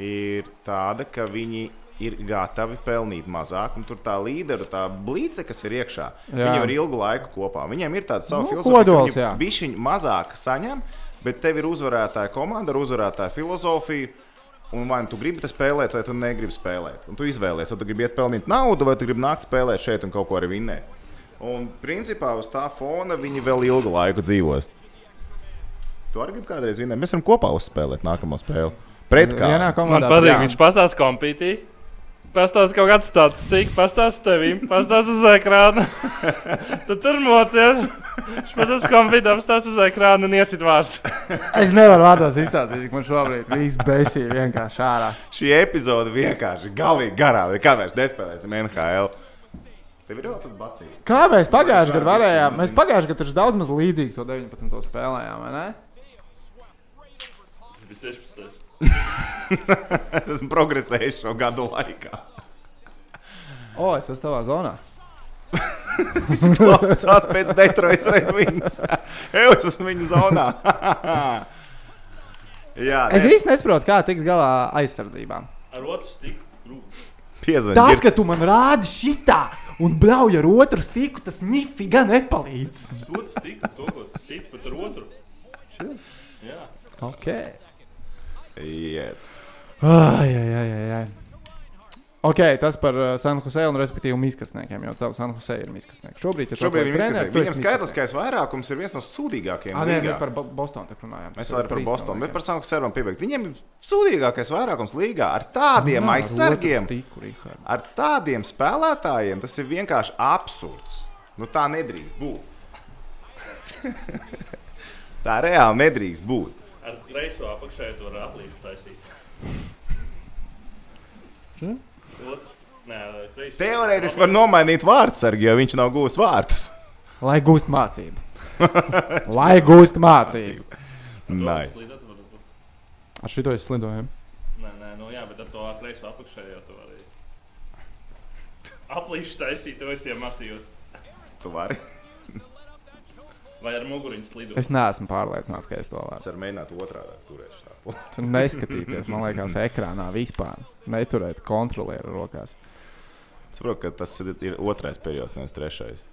B: ir tāda, ka viņi ir gatavi pelnīt mazāk, un tur tā līdera, tā blīce, kas ir iekšā,
A: Jā.
B: viņiem ir ilgu laiku kopā. Viņiem ir tāds savs
A: Nu, kodols,
B: filozofija,
A: jā.
B: ka viņi mazāk saņem, bet tev ir uzvarētāja komanda ar uzvarētāju filozofiju. Un vai nu tu gribi te spēlēt, vai tu negribi spēlēt. Un tu izvēlējies, vai tu gribi iet pelnīt naudu, vai tu gribi nākt spēlēt šeit un kaut ko arī vinnēt. Un principā uz tā fona viņi vēl ilgu laiku dzīvos. Tu arī gribi kādreiz vinnēt. Mēs varam kopā uzspēlēt nākamo spēli. Pret kā?
A: Vienā
C: Man
A: komandā.
C: patīk,
A: jā.
C: viņš pastāsta kompītī. Pastāsta kaut kāds tāds stīk, pastāsta tevim, pastāsta uz ekrāna. Tad tur mocies. Viņš pastāsta kompītī, pastāsta uz ekrāna un iesit vārds.
A: Es nevaru vārdos izstāstīt, cik man šobrīd viss besīja vienkārši ārā.
B: Šī epizode vienkārši galīgi garā. Kādreiz nespēlēsim NHL. Tev ir vēl tas basīgs.
A: Kā mēs pagājušajā gadā varējām? Mēs pagājušajā gadā taču daudz maz līdzīgi to 19. spēlējām, vai ne?
C: Tas bija 16.
B: Es esmu progresējis šo gadu laikā.
A: O, es esmu tavā zonā.
B: Tas klausās pēc Detroitas Redwings. Jau es esmu viņa zonā. Jā,
A: Es īsti nesaprotu, kā tikt galā aizsardzībām.
C: Ar otru stīku grūti.
B: piezvanīju.
A: Tas, ka tu man rādi šitā un bļauj ar otru stīku, tas nifiga nepalīdz.
C: Sūds stīku, to, ko sit, bet ar otru. Jā.
A: Ok.
B: Yes.
A: Ai, ai, ai, ai, ai. Ok, tas par uh, Sanhuzē un respektīvi mīkstniekiem, jo tavs Sanhuzē ir mīkstnieks. Šobrīd, ja tu
B: Šobrīd
A: atklāji
B: viņam skaitās,
A: treneru, tu
B: viņam
A: esi
B: skaitliskais vairākums ir viens no sūdīgākajiem.
A: Ā, nē,
B: līgā.
A: mēs par Bo- Bostonu te runājām.
B: Mēs
A: Tas
B: varam
A: ir
B: par
A: trīs
B: Bostonu, bet
A: cilvēkiem.
B: par Sanku Sērbumu piebilst. Viņiem ir sūdīgākais vairākums līgā ar tādiem
A: Nav ar
B: aizsargiem,
A: otru stīku, Rihards.
B: ar tādiem spēlētājiem. Tas ir vienkārši absurds. Nu, tā nedrīkst būt. tā reāli nedrīkst būt.
C: Ar kreiso apakšēju to var aplīšu taisīt.
A: Či?
C: Nē, kreiso.
B: Teorētiski var nomainīt vārdsargu, jo viņš nav gūs vārtus.
A: Lai gūst mācību. Lai gūst mācību.
B: Nice.
A: Ar šito es slidoju.
C: Nē, nē, nu jā, bet ar to kreiso apakšējo to arī. Aplīšu taisīt, to es iemācījos.
B: Tu vari.
C: Vai ar muguriņu slidu?
A: Es neesmu pārliecināts, ka es to varu.
B: Es varu mēģināt otrādi turēt šādu.
A: Tu neskatīties, man liekas, ekrānā vispār. Neturēt kontrolieru rokās.
B: Saprotu, ka tas ir ir otrais periods, nevis trešais.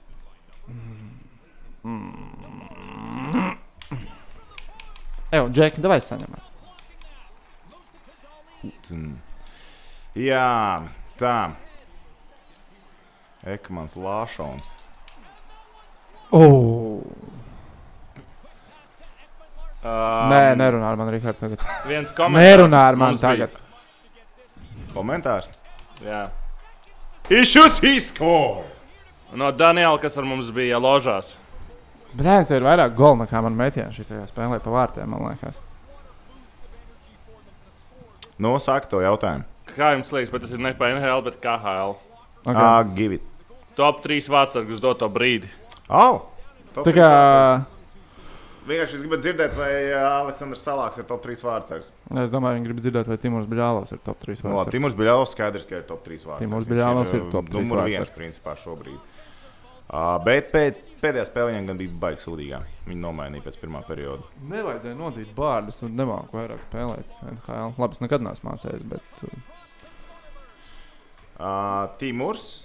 A: Evo, Džeki, davai saņemas.
B: Mm. Jā, tā. Ekmans Lāšons.
A: Oh.
C: Um,
A: Nē, nerunā ar mani, Rihards. tagad.
C: Viens komentārs.
A: Nerunā ar mani
C: mums bija.
A: tagad.
B: Komentārs.
C: Jā.
B: Išus izskor!
C: No Daniela, kas ar mums bija ložās.
A: Brāļs, tev ir vairāk golfa nekā man metienā šajā spēlē pa vārtiem, man liekas.
B: Nosāk to jautājumu.
C: Kā jums liekas, bet tas ir ne PNL, bet KHL.
A: Okay.
B: Ah, give it.
C: Top 3 vārdsargus doto brīdi.
B: Au! Top
A: Tā
B: trīs
A: kā
B: vārdsargs. Vienkārši es gribētu dzirdēt, vai ā, Aleksandrs Salāks ir top 3 vārdsargs.
A: es domāju, viņi grib dzirdēt, vai Timurs Bļāvos ir top 3 vai
B: No, Timurs Biļāvs skaidrs, ka ir top 3 vārdsargs.
A: Timurs
B: Viņš
A: Biļāvos ir
B: ā,
A: top trīs
B: Numur 1
A: vārdsargs.
B: principā šobrīd. Uh, bet pēd, pēdējā spēlē viņam gan bija baigts sūdīgā. Viņu nomainīja pēc pirmā perioda.
A: Nevajadzēja nodzīt bārdus un nemāku vairāk spēlēt NHL. Labi, es nekad neesmu mācījies, bet uh,
B: Uh, Timurs,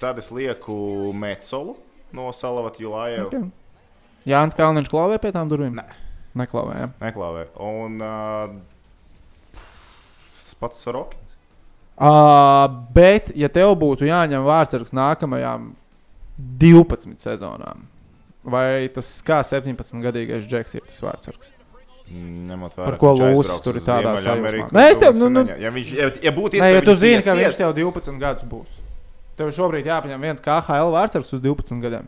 B: tad es lieku Metsolu no Salavata Julājeva.
A: okay. Jānis Kalniņš klauvē pie tām durvīm?
B: Nē.
A: Neklauvē. Ja?
B: Neklāvē. Un uh, tas pats Sorokins.
A: Ah, Uh, bet, ja tev būtu jāņem vārdsargs nākamajām 12 sezonām. Vai tas kā 17 gadīgais Džeks ir tas vārdsargs?
B: Ņemot vērā,
A: Par ko
B: ka viņš
A: lūsis
B: aizbrauks
A: tur ir
B: uz
A: tādā sajūsmā?
B: Ziemeļameriku,
A: Nē, es tev-
B: Džeks
A: nu,
B: un
A: nu-
B: neņem. Ja, viņš, ja, ja būtu
A: Nē, ja
B: iespēja,
A: tu
B: viņš
A: zini, ka viņš
B: iesiet.
A: tev 12 gadus būs. Tev šobrīd jāpaņem viens KHL vārdsargs uz 12 gadiem.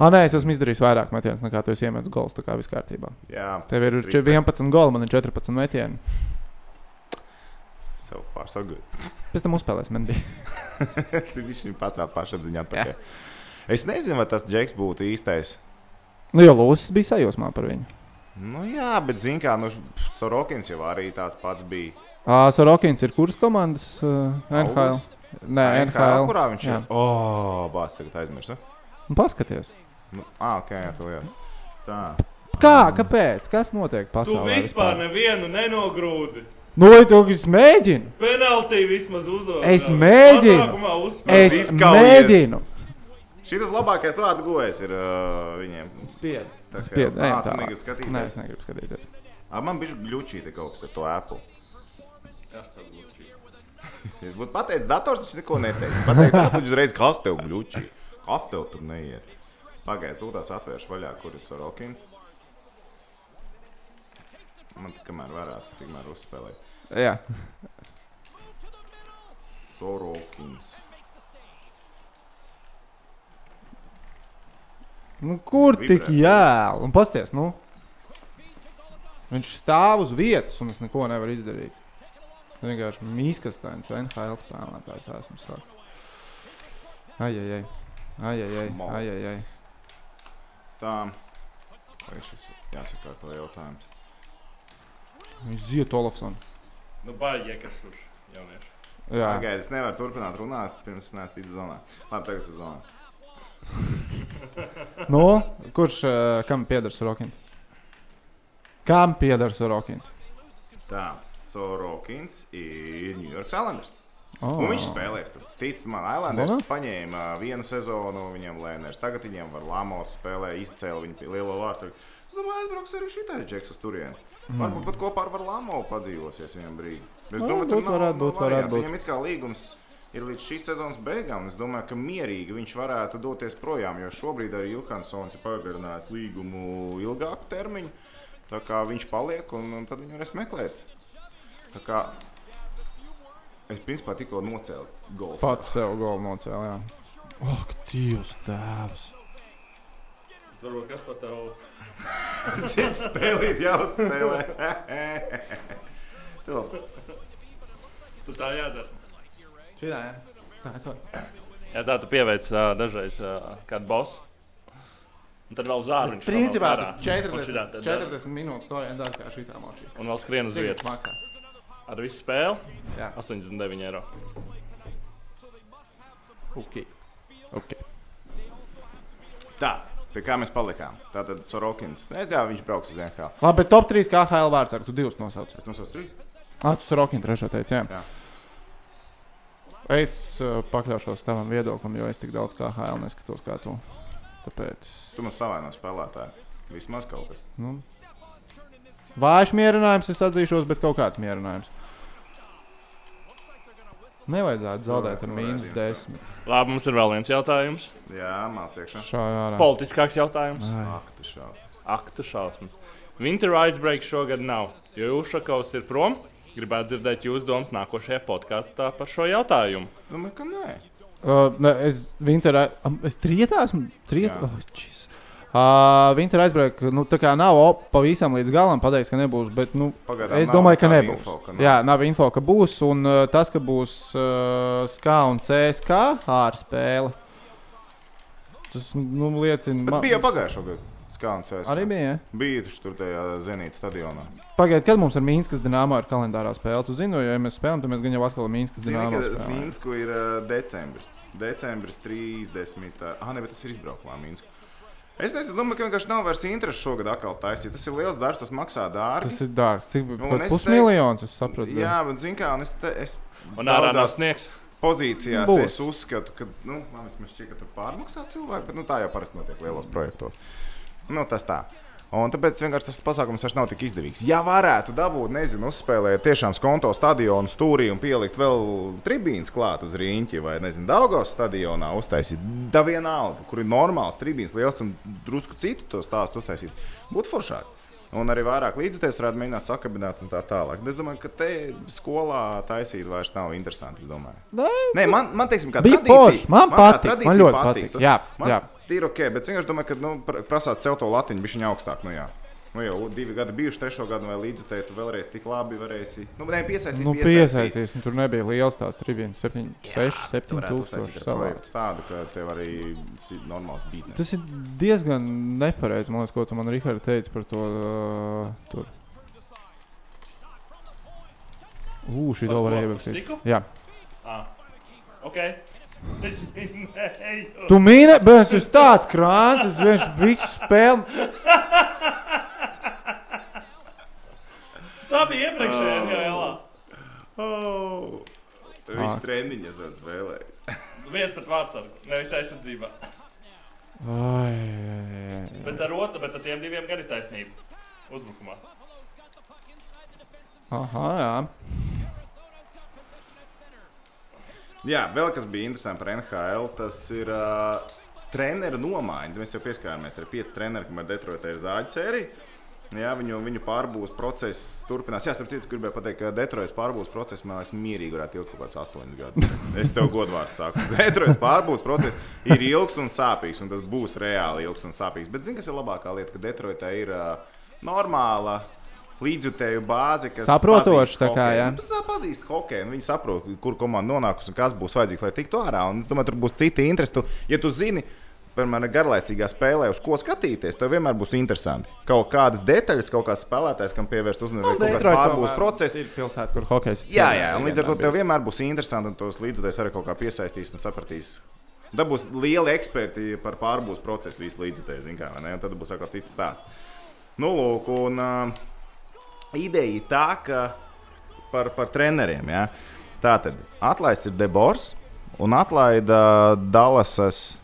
A: Ah, nē, es esmu izdarījis vairāk metienus, nekā tu esi iemetis gols. Tā kā viss kārtībā.
B: Jā,
A: Tev ir
B: Respekt.
A: 11 goli, man ir 14 metieni.
B: so far, so good.
A: Pēc tam uzspēlēs man bija.
B: Tad viņš viņu pacēla pašapziņā atpakaļ. Es nezinu, vai tas Džeks būtu īstais.
A: Nu, jo Lūsis bija sajūsmā par viņu.
B: Nu, jā, bet zini, kā nu, Sorokins jau arī tāds pats bija.
A: Ah, Sorokins ir kuras komandas? Uh, NHL.
B: Augus?
A: Nē, NHL.
B: Kurā viņš
A: Jā.
B: ir? O, bāz, tagad aizmirsu.
A: Nu, Paskaties.
B: Nu, ah, ok, jā, tu liels. Tā.
A: Kā, kāpēc? Kas notiek
C: Tu
A: pasaulē?
C: vispār nevienu nenogrūdi.
A: Nu, vai tu es mēģinu?
C: Penaltī vismaz uzdod.
A: Es
C: tev.
A: mēģinu.
C: Pasākumā uzspēlē.
A: Es
B: izkaujies.
A: mēģinu.
B: Šis labākais vārdu gojas ir uh, viņiem.
A: Spied.
B: Tas
A: Spied, ej,
B: tā
A: tālāk.
B: kā gribi
A: Nē, es
B: skatīties.
A: negribu skatīties.
B: Ā, Man bija glučīte kaut kas ar to Apple.
C: Kas tad būtu šī?
B: Es būtu pateicis, dators viņš neko neteiks. Pateicis, ka viņš uzreiz kas tev gluči. Kas tev tur neiet? Pagaidiet, lūdzu, atvēršu vaļā, kur ir Sorokins. Man tik kamēr varās, tikmēr uzspēlēt.
A: Jā,
B: Sorokins.
A: nu, kur tik
B: Vibrē.
A: jā, un pasties, nu. Viņš stāv uz vietas, un es neko nevaru izdarīt. Es vienkārši mīskastains, NHL spēlētājs esmu. Sāk. Ai, ai, ai. Ai, ai, ai, ai, ai, ai.
B: Tā. Vai šis jāsaka to jautājums?
A: Viņš ziet Olofsonu.
C: Nu, baigi, kas tur jaunieši.
A: Jā,
B: Pagaidiet, es nevaru turpināt runāt, pirms neesmu ticis zonā. Labi, tagad esmu zonā.
A: nu, kurš, eh, kam pieder Sorokins? Kam pieder Sorokins?
B: Tā. Sorokins ir New York Islanders.
A: Oh.
B: Un viņš spēlēs tur. Ticiet man,
A: Domā?
B: Islanders paņēma uh, vienu sezonu, viņam Lēners. Tagad viņam var Lamos spēlē, izcēla viņu pie lielo vārstu. Es domāju, aizbrauks arī šitais džeks uz turieni. Mm. Varbūt pat kopā ar Lamo padzīvosies vienam brīdī. Es
A: Nu,
B: domāju,
A: būtu,
B: tur nav,
A: varētu
B: nav
A: būt, varētu
B: variantu.
A: būt.
B: Viņam it kā līgums ir līdz šīs sezonas beigām. Es domāju, ka mierīgi viņš varētu doties projām, jo šobrīd arī Johansons ir pagarinājis līgumu ilgāku termiņu. Tā kā viņš paliek, un, un tad viņu varēs meklēt. Tā kā es principā tikko nocēlu golfu.
A: pats sev golu nocēlīja. Ak, Dievs, tēvs!
C: Varbūt kas par tevu?
B: Cik spēlīt jāuzspēlē. Tu
C: Tu tā jādara.
A: Šitā, jā. Tā, tā.
C: Jā, tā tu pieveic uh, dažreiz uh, kādu bosu. Un tad vēl zāriņš.
A: Principā
C: vēl
A: tu
C: ārā. Un šitā
A: 40,
C: tad, uh,
A: 40 minūtes to jādara kā šitā močī.
C: Un vēl skrien uz
A: Cik tas
C: vietas.
A: maksā?
C: Ar visu spēli
A: Jā,
C: 89 eiro.
A: ok. okay.
B: Tā, pie kā mēs palikām. Tātad Sorokins. Es domāju, viņš brauks uz NHL.
A: Labi, bet top 3 KHL vārds ar tu divus nosauc.
B: Es nosaucu trīs.
A: Atus Rokina trešā teica, jā.
B: Jā.
A: Es uh, pakļaušos tavam viedoklim, jo es tik daudz KHL neskatos kā tu. Tāpēc,
B: Tu man savaino spēlētāju. Vismaz kaut kas.
A: nu, vājš mierinājums es atzīšos, bet kaut kāds mierinājums. Nevajadzētu zaudēt ar
B: Zaudēt,
A: mīnus
B: zaudēt, jā,
A: 10.
C: Labi, mums ir vēl viens jautājums.
B: Jā, mācīšana.
A: Šajā ārā.
C: Politiskāks jautājums.
B: Ak, tu šausmas.
C: Ak, tu šausmas. Winter Icebreak šogad nav, jo Ušakovs ir prom. Gribētu dzirdēt jūsu domas nākošajā podkāstā par šo jautājumu.
B: Es domāju, ka nē.
A: Uh, ne, es vinterā, am, es trietā esmu, trietā,
B: Jā.
A: oh, jeez. Uh, Vinter aizbrauka, nu tā kā nav op, pavisam līdz galam pateiks, ka nebūs, bet, nu,
B: Pagaidām
A: es
B: nav
A: domāju, ka
B: nekāda
A: nebūs.
B: info, ka nav.
A: Jā, nav info, ka būs, un uh, tas, ka būs uh, SK un CSK ārspēle, tas, nu, liecina.
B: Bet
A: ma-
B: bija jau pagājušā gada. Skāns CS.
A: Arī bija, jā.
B: Bija taču tur tajā Zenīta stadionā.
A: Pagaidiet, kad mums ar Mīnskas dināmā ir kalendārā spēle, tu zini, jo, ja mēs spēlējam, tad mēs gan jau atkal ar Mīnskas
B: Zini,
A: dināmā
B: ka
A: spēlējam.
B: Mīnsku ir ā, decembris. Decembris 30. Ah, ne, bet tas ir izbraukumā Mīnsku. Es nezinu, domāju, ka vienkārši nav vairs interesi šogad atkal taisīt. Tas ir liels darbs, tas maksā dārgi.
A: Tas ir dārgs, cik
B: Nu, Un
A: pat
B: es
A: pusmiljons, es saprotu.
B: Jā, bet zini, kā, un es, te, es
C: Un ārā nav
B: daudzās
C: sniegs.
B: pozīcijās
A: Būs.
B: Būs. es uzskatu, ka, nu, man vismaz šķiet, ka tur pārmaksā cilvēki, bet nu, tā jau parasti notiek lielos projektos. Nu, tas tā. Un tāpēc vienkārši tas pasākums vairs nav tik izdevīgs. Ja varētu dabūt, nezinu, uzspēlēt tiešām skonto stadionu stūrī un pielikt vēl tribīnas klāt uz rīņķi vai, nezinu, Daugos stadionā uztaisīt, da vienalga, kur ir normāls tribīnas liels un drusku citu to stāstu uztaisīt, būtu foršāk. Un arī vairāk līdzekļus varētu mēģināt sakabināt un tā tālāk. Es domāju, ka te skolā taisīt vairs nav interesanti. es domāju. Nē, man, man teiksim, kā
A: Bija
B: tradīcija-
A: forši, man
B: tā
A: patika,
B: tradīcija
A: man ļoti patika, jā,
B: man
A: jā.
B: Tīri ok, bet es vienkārši domāju, ka nu, pra- prasās celt to latiņu bišķiņu augstāk. Nu, jā. nu jau divi gadi bijuši, trešo gadu vai līdz tam tu vēlreiz tik labi varēsi. Nu, nē, piesaistīt,
A: Nu,
B: piesaistīt.
A: piesaistīs, un tur nebija liels tās trījus, 7, 6, 7 tūkstoši savākt.
B: projektu tādu, ka tev arī tas ir normāls biznesa.
A: Tas ir diezgan nepareizi, man liekas, ko tu man, Rihards, teici par to. Uh, tur. Ū, šī to varēja ierakstīt.
C: Tiku?
A: Jā.
C: Ah. Ok. Es minēju.
A: Tu mīni, bet es esmu tāds krāns, es vienkārši visu spēli.
C: Tā bija iepriekšējā NHLā.
B: Oh.
A: Ah.
B: Viņš treniņas vēl spēlējis.
C: Viens pret vārdsargu, nevis aizsardzībā.
A: Ai, jā, jā, jā.
C: Bet ar otru, bet ar tiem diviem gan ir taisnība. Uzbrukumā.
A: Aha, jā.
B: Jā, vēl kas bija interesanti par NHL, tas ir uh, treneru nomaiņa. Mēs jau pieskārāmies ar pieciem treneriem, kam ir Detroitā ir zāģis sērija. Jā, viņu, viņu pārbūves process turpinās. Jā, starp citu, es gribēju pateikt, ka Detroitas pārbūves process man liekas mierīgi varētu ilgt kaut kāds astoņus gadus. Es tev godvārdu saku. Detroitas pārbūves process ir ilgs un sāpīgs, un tas būs reāli ilgs un sāpīgs. Bet zini, kas ir labākā lieta, ka Detroitā ir uh, normāla līdzjutēju bāze, kas
A: Saprotoši, tā kā,
B: jā.
A: jā.
B: Viņi pazīst hokeju, un viņi saprot, kur komanda nonākusi un kas būs vajadzīgs, lai tiktu ārā. Un, es domāju, tur būs citi interesi. Tu, ja tu zini, piemēram, garlaicīgā spēlē, uz ko skatīties, tev vienmēr būs interesanti. Kaut kādas detaļas, kaut kāds spēlētājs, kam pievērst
A: Nu,
B: uzmanību, kaut kāds pārbūves process.
A: ir pilsēta, kur hokejs ir.
B: Jā, jā, un līdz ar to tev vienmēr būs interesanti, un tos līdzekļus arī kaut kā piesaistīs un sapratīs. Dabūs lieli eksperti par pārbūves procesu, visu līdzekļus, zināmā mērā, un tad būs atkal cits stāsts. Nu, lūk, un uh, ideja ir tā, ka par, par treneriem. Ja? Tā tad atlaists ir Debors un atlaida Dallasas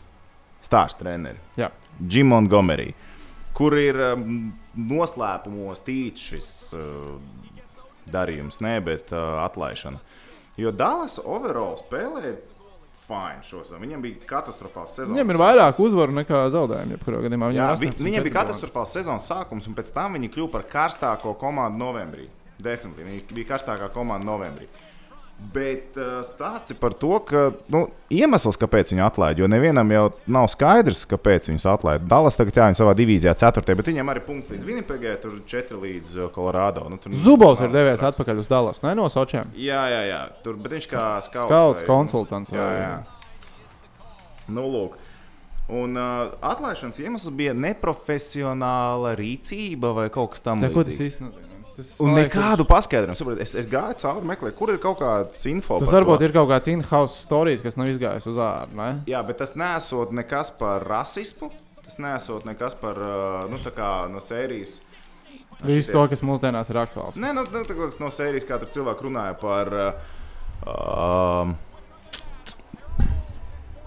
B: stāsts treneris.
A: Jā.
B: Jim Montgomery, kur ir um, noslēpumos tīts šis uh, darījums, ne, bet uh, atlaišana. Jo Dallas overall spēlē fine šo sezonu. Viņam bija katastrofāls sezons.
A: Viņam ir vairāk uzvaru nekā zaudējumu. jebkurā gadījumā. Viņam
B: Jā,
A: ir
B: vi,
A: 18
B: viņam bija
A: čempions.
B: katastrofāls sezonas sākums, un pēc tam viņi kļuva par karstāko komandu novembrī. Definitīvi viņi bija karstākā komanda novembrī. Bet uh, stāsts ir par to, ka nu, iemesls, kāpēc viņu atlaida, jo nevienam jau nav skaidrs, kāpēc viņu atlaida. Dallas tagad jā, viņa savā divīzijā, 4. bet viņam arī punkts līdz Vinipēgai, tur 4 līdz uh, Colorado. Nu, tur
A: Zubovs ir
B: nav
A: devies
B: straks.
A: atpakaļ uz Dallas, ne no Sočiem.
B: Jā, jā, jā. Tur, bet viņš kā skauts.
A: Skauts,
B: vai-
A: konsultants.
B: Jā,
A: vai-
B: jā. Nu, lūk. Un uh, atlaišanas iemesls bija neprofesionāla rīcība vai kaut kas
A: Tā, ko tas
B: tamlīdzīgs.
A: īsti nozīmē? Tas,
B: Un
A: man liekas, ir-
B: nekādu paskaidrojumu. saprotat? Es, es gāju cauri, meklēju, kur ir kaut kāds info.
A: Tas
B: par
A: varbūt
B: to.
A: ir kaut kāds in-house stāsts, kas nav izgājis uz ārā. ne?
B: Jā, bet tas nesot nekas par rasismu. Tas nesot nekas par, uh, nu, tā kā no sērijas.
A: Viss
B: šitie-
A: to, kas mūsdienās ir aktuāls.
B: Nē, nu, nu, tā kā no sērijas kā tur cilvēki runāja par. Uh,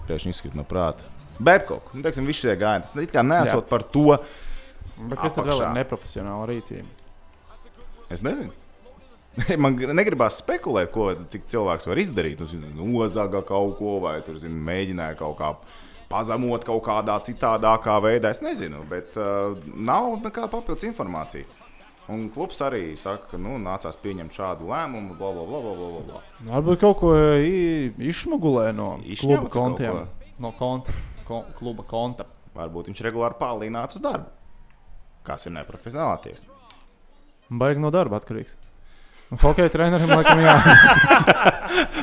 B: Pēkšņi izkrīt no prāta. Bebkoku. Nu, teiksim, visi šie gājieni. Tas it kā nesot par to.
A: Bet kas tad vēl
B: apakšā.
A: ir neprofesionāla rīcība?
B: Es nezinu. Man gr- negribās spekulēt, ko cik cilvēks var izdarīt. Nu, zini, nozaga kaut ko, vai tur, zini, mēģināja kaut kā pazemot kaut kādā citādākā veidā. Es nezinu, bet uh, nav nekāda papildus informācija. Un klubs arī saka, ka nu, nācās pieņemt šādu lēmumu, bla, bla, bla, bla, bla, bla, bla.
A: Nu, Varbūt kaut ko i- izšmugulē no
B: Izšņauca
A: kluba
B: kaut
A: kontiem.
B: ko?
A: No konta, ko, kluba konta.
B: Varbūt viņš regulāri pārlīnāts uz darbu. Kas ir neprofesionālā tiesa?
A: Baigi no darba atkarīgs. Un Hokeja trenerim laikam jā.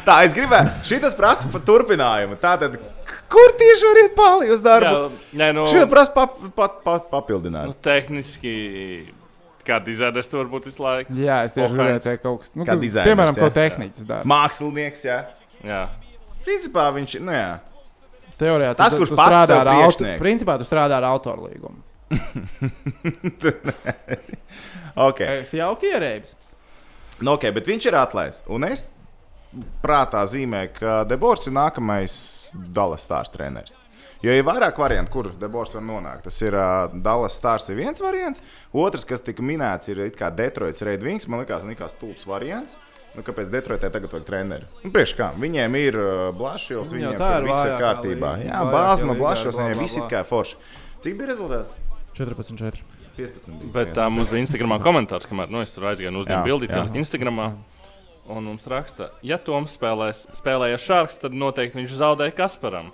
B: Tā es gribēju, šī tas prasa pa- turpinājumu. Tātad, k- kur tieši var iet pāri uz darbu?
C: nē, nu,
B: Šī prasa pap, pap, pap, papildinājumu.
C: nu, tehniski. Kā dizainers to varbūt visu laiku.
A: jā, es tieši
C: Hokeja.
A: gribēju teikt kaut kas. Nu,
B: Kā
A: ka-
B: dizainers,
A: piemēram,
B: jā.
A: ko tehniķis dara.
B: Mākslinieks, jā.
C: Jā,
B: Principā viņš ir. Nu, jā.
A: Teorijā tu-
B: Tas,
A: tu
B: kurš pats
A: strādā
B: sev
A: ar autoru.
B: priekšnieks.
A: Principā tu strādā ar autoru līgumu.
B: okay.
A: Es jauki ierēbis.
B: Nu, okay, bet viņš ir atlaists. Un es prātā zīmēju, ka Debors ir nākamais Dallas stāsts treneris. Jo ir vairāk variantu, kur Debors var nonākt. Tas ir uh, Dallas Stars, ir viens variants. Otrs, kas tika minēts, ir it kā Detroits Raidvings. Man liekas, tas ir stulbs variants. Nu, kāpēc Detroitē tagad vajag treneri? Nu, priekš kā, viņiem ir uh, Blašils,
A: Viņiem
B: viņiem
A: tā
B: tur
A: ir
B: viss ir
A: vājākā
B: kārtībā.
A: līnija,
B: Jā,
A: vājākā
B: Bāzma,
A: līnija,
B: Blašils,
A: blā, blā,
B: viņiem viss
A: blā.
B: ir kā forši. Cik bija rezultāts?
A: 14, 4.
B: 15. bija.
C: Bet
B: Jā.
C: tā mums bija Instagramā komentārs, kamēr nu, es tur aizgāju un
B: Jā,
C: uzņēmu bildi
B: jā.
C: cilvēku Instagramā. Un mums raksta, ja Toms spēlēs, spēlēja šāds, tad noteikti viņš zaudēja Kasparam.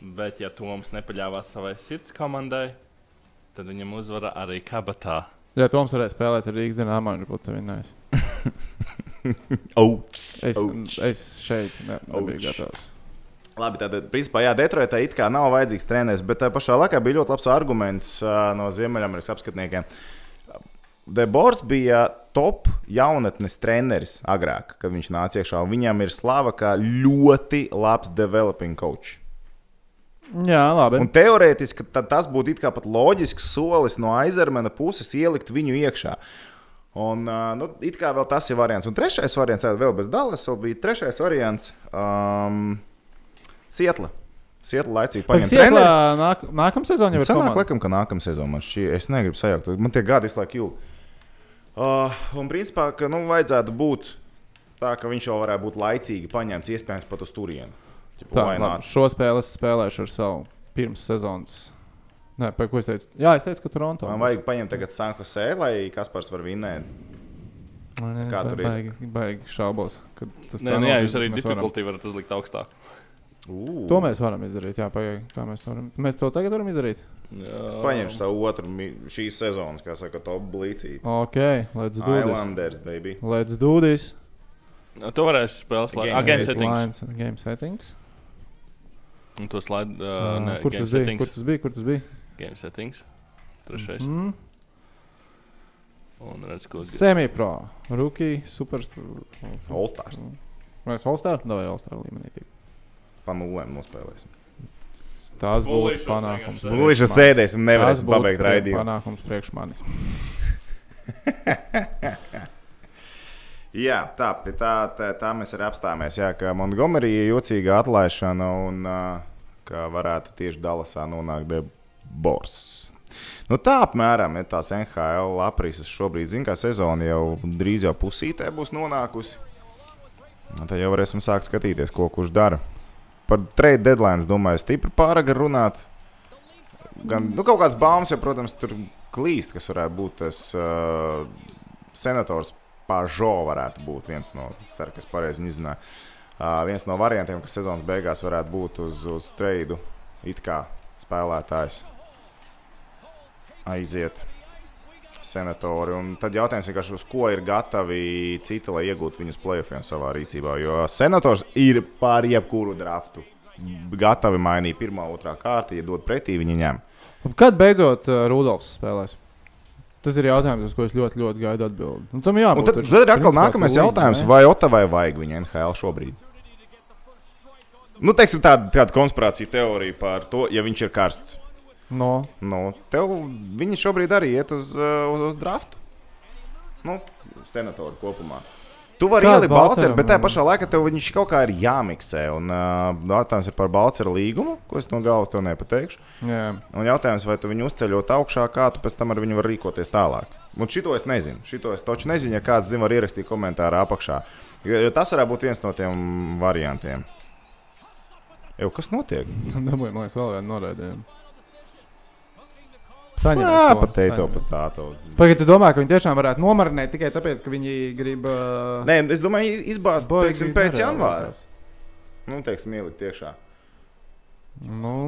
C: Bet, ja Toms nepaļāvās savai sirds komandai, tad viņam uzvara arī kabatā.
A: Jā, Toms varēja spēlēt ar Rīgas dīnāmā, viņš būtu vinnējis.
B: Au!
A: Es,
B: Ouch.
A: es šeit ne, nebiju
B: Ouch.
A: gatavs.
B: Labi, tātad, principā, jā, Detroitā it kā nav vajadzīgs treneris, bet tajā pašā laikā bija ļoti labs arguments ā, no Ziemeļamerikas apskatniekiem. Debors bija top jaunatnes treneris agrāk, kad viņš nāca iekšā. un Viņam ir slava kā ļoti labs developing coach.
A: Jā, labi.
B: Un teorētiski tad tas būtu it kā pat loģisks solis no aizarmena puses ielikt viņu iekšā. Un, ā, nu, it kā vēl tas ir variants. Un trešais variants, ā, vēl bez Dallas, vēl bija trešais variants um, - Sietla. Sietla laicīgi
A: Un,
B: paņem
A: Sietlā,
B: treneri.
A: nāk, nākamā sezona jau ir
B: Sanāk,
A: komanda.
B: laikam, ka nākamā sezona man šī, es negribu sajaukt, man tie gadi izlaik jūg. Uh, un principā, ka nu, vajadzētu būt tā, ka viņš jau varētu būt laicīgi paņemts, iespējams, pat uz turieni. Ķipa,
A: Tā,
B: why not?
A: labi, šo spēli es spēlēšu ar savu pirms sezonas. Nē, pa, ko es teicu? Jā, es teicu, ka Toronto.
B: Man vajag paņemt tagad Sanhosē, lai Kaspars var vinēt. kā tur ir?
A: Baigi, baigi šaubos, ka tas
C: Nē,
A: tā
C: nu, jā,
A: notiek,
C: jūs arī
A: mēs varam-
C: difficulty varat uzlikt augstāk.
B: Ū.
A: To mēs varam izdarīt. Jā, pagaidi, kā mēs varam. Mēs to tagad varam izdarīt.
B: Es paņemšu savu otru mi- šīs sezonas, kā saka, top blīcīti.
A: Ok, let's do this.
B: Islanders, baby.
A: Let's do this.
C: To varēs spēlēt slaidu.
B: Game
C: Ah, game
B: settings.
C: settings.
A: Lines, game settings.
C: Un to slaidu. Uh,
A: Uh,
C: nē,
A: kur,
C: game
A: tas bija? kur
C: settings.
A: tas bija? Kur tas bija?
C: Game settings. Trešais.
A: Mm.
C: Un redz, ko.
A: Semipro, Rookie, Superstar.
B: Olstārs.
A: Mēs Holstāra vai Holstāra līmenī. tik.
B: Pa nulēm nospēlēsim.
A: Tās būtu
C: Bulīšos
A: panākums.
C: vienkārši.
B: Gluži
A: priekš manis.
B: sēdēsim,
A: Tās
B: nevarēsim
A: būtu
B: pabeigt raidījumu.
A: Panākums priekš manis.
B: Jā, tā, pie tā, tā, tā mēs arī apstāmies. Jā, ka Montgomerija ir jocīga atlaišana un ā, ka varētu tieši Dallasā nonākt Debors. Nu, tā apmēram ir tās NHL aprises šobrīd. Zinu, kā sezona jau drīz jau pusītē būs nonākusi. Nu, Tad jau varēsim sākt skatīties, ko kurš dara. Par trade deadline, domāju, stipri pārāk gar runāt. Gan nu, kaut kāds baumas, ja, protams, tur klīst, kas varētu būt tas uh, senators Pāžo, varētu būt viens no, es ceru, ka es pareizi viņu izrunāju. Uh, viens no variantiem, kas sezonas beigās varētu būt uz, uz treidu, it kā spēlētājs aiziet. Senatori. Un tad jautājums vienkārši, uz ko ir gatavi citi, lai iegūtu viņus plēsoņiem savā rīcībā. Jo senators ir pār jebkuru draftu. Gatavi mainīt pirmā, otrā kārta, ja dod pretī, viņi ņem.
A: Kad beidzot uh, Rudolfs spēlēs? Tas ir jautājums, uz ko es ļoti, ļoti gaidu atbildi. Nu, tam jābūt.
B: Un tad,
A: taču
B: tad ir atkal
A: principā
B: nākamais
A: tūlīt,
B: jautājums,
A: ne?
B: vai Otavai vajag viņu NHL šobrīd? Nu, teiksim, tāda, tāda konspirācija teorija par to, ja viņš ir karsts.
A: No.
B: Nu, tev viņi šobrīd arī iet uz, uh, uz, uz draftu. Nu, senatoru kopumā. Tu vari
A: Kāds
B: ielikt Balceru,
A: Balceram,
B: bet tajā
A: jā.
B: pašā laikā tev viņš kaut kā ir jāmiksē. Un uh, jautājums ir par Balceru līgumu, ko es no galvas tev nepateikšu.
A: Jā.
B: Un jautājums, vai tu viņu uzceļot augšā, kā tu pēc tam ar viņu vari rīkoties tālāk. Un šito es nezinu. Šito es taču nezinu, ja kāds zina, var ierakstīt komentārā apakšā. Jo jo tas varētu būt viens no tiem variantiem. Jau kas notiek?
A: Dabūjām, lai es vēl vienu noraidījumu. Saņemam.
B: Jā,
A: to,
B: pat te to
A: saņemam.
B: pat tā to.
A: Pagaid, tu domā, ka viņi tiešām varētu nomarināt tikai tāpēc, ka viņi grib. Uh,
B: Nē, es domāju, iz- izbāzt
A: Boigi
B: teiksim, pēc
A: nereāli
B: janvāra.
A: liekas.
B: Nu, teiksim, ielikt iekšā.
A: Nu,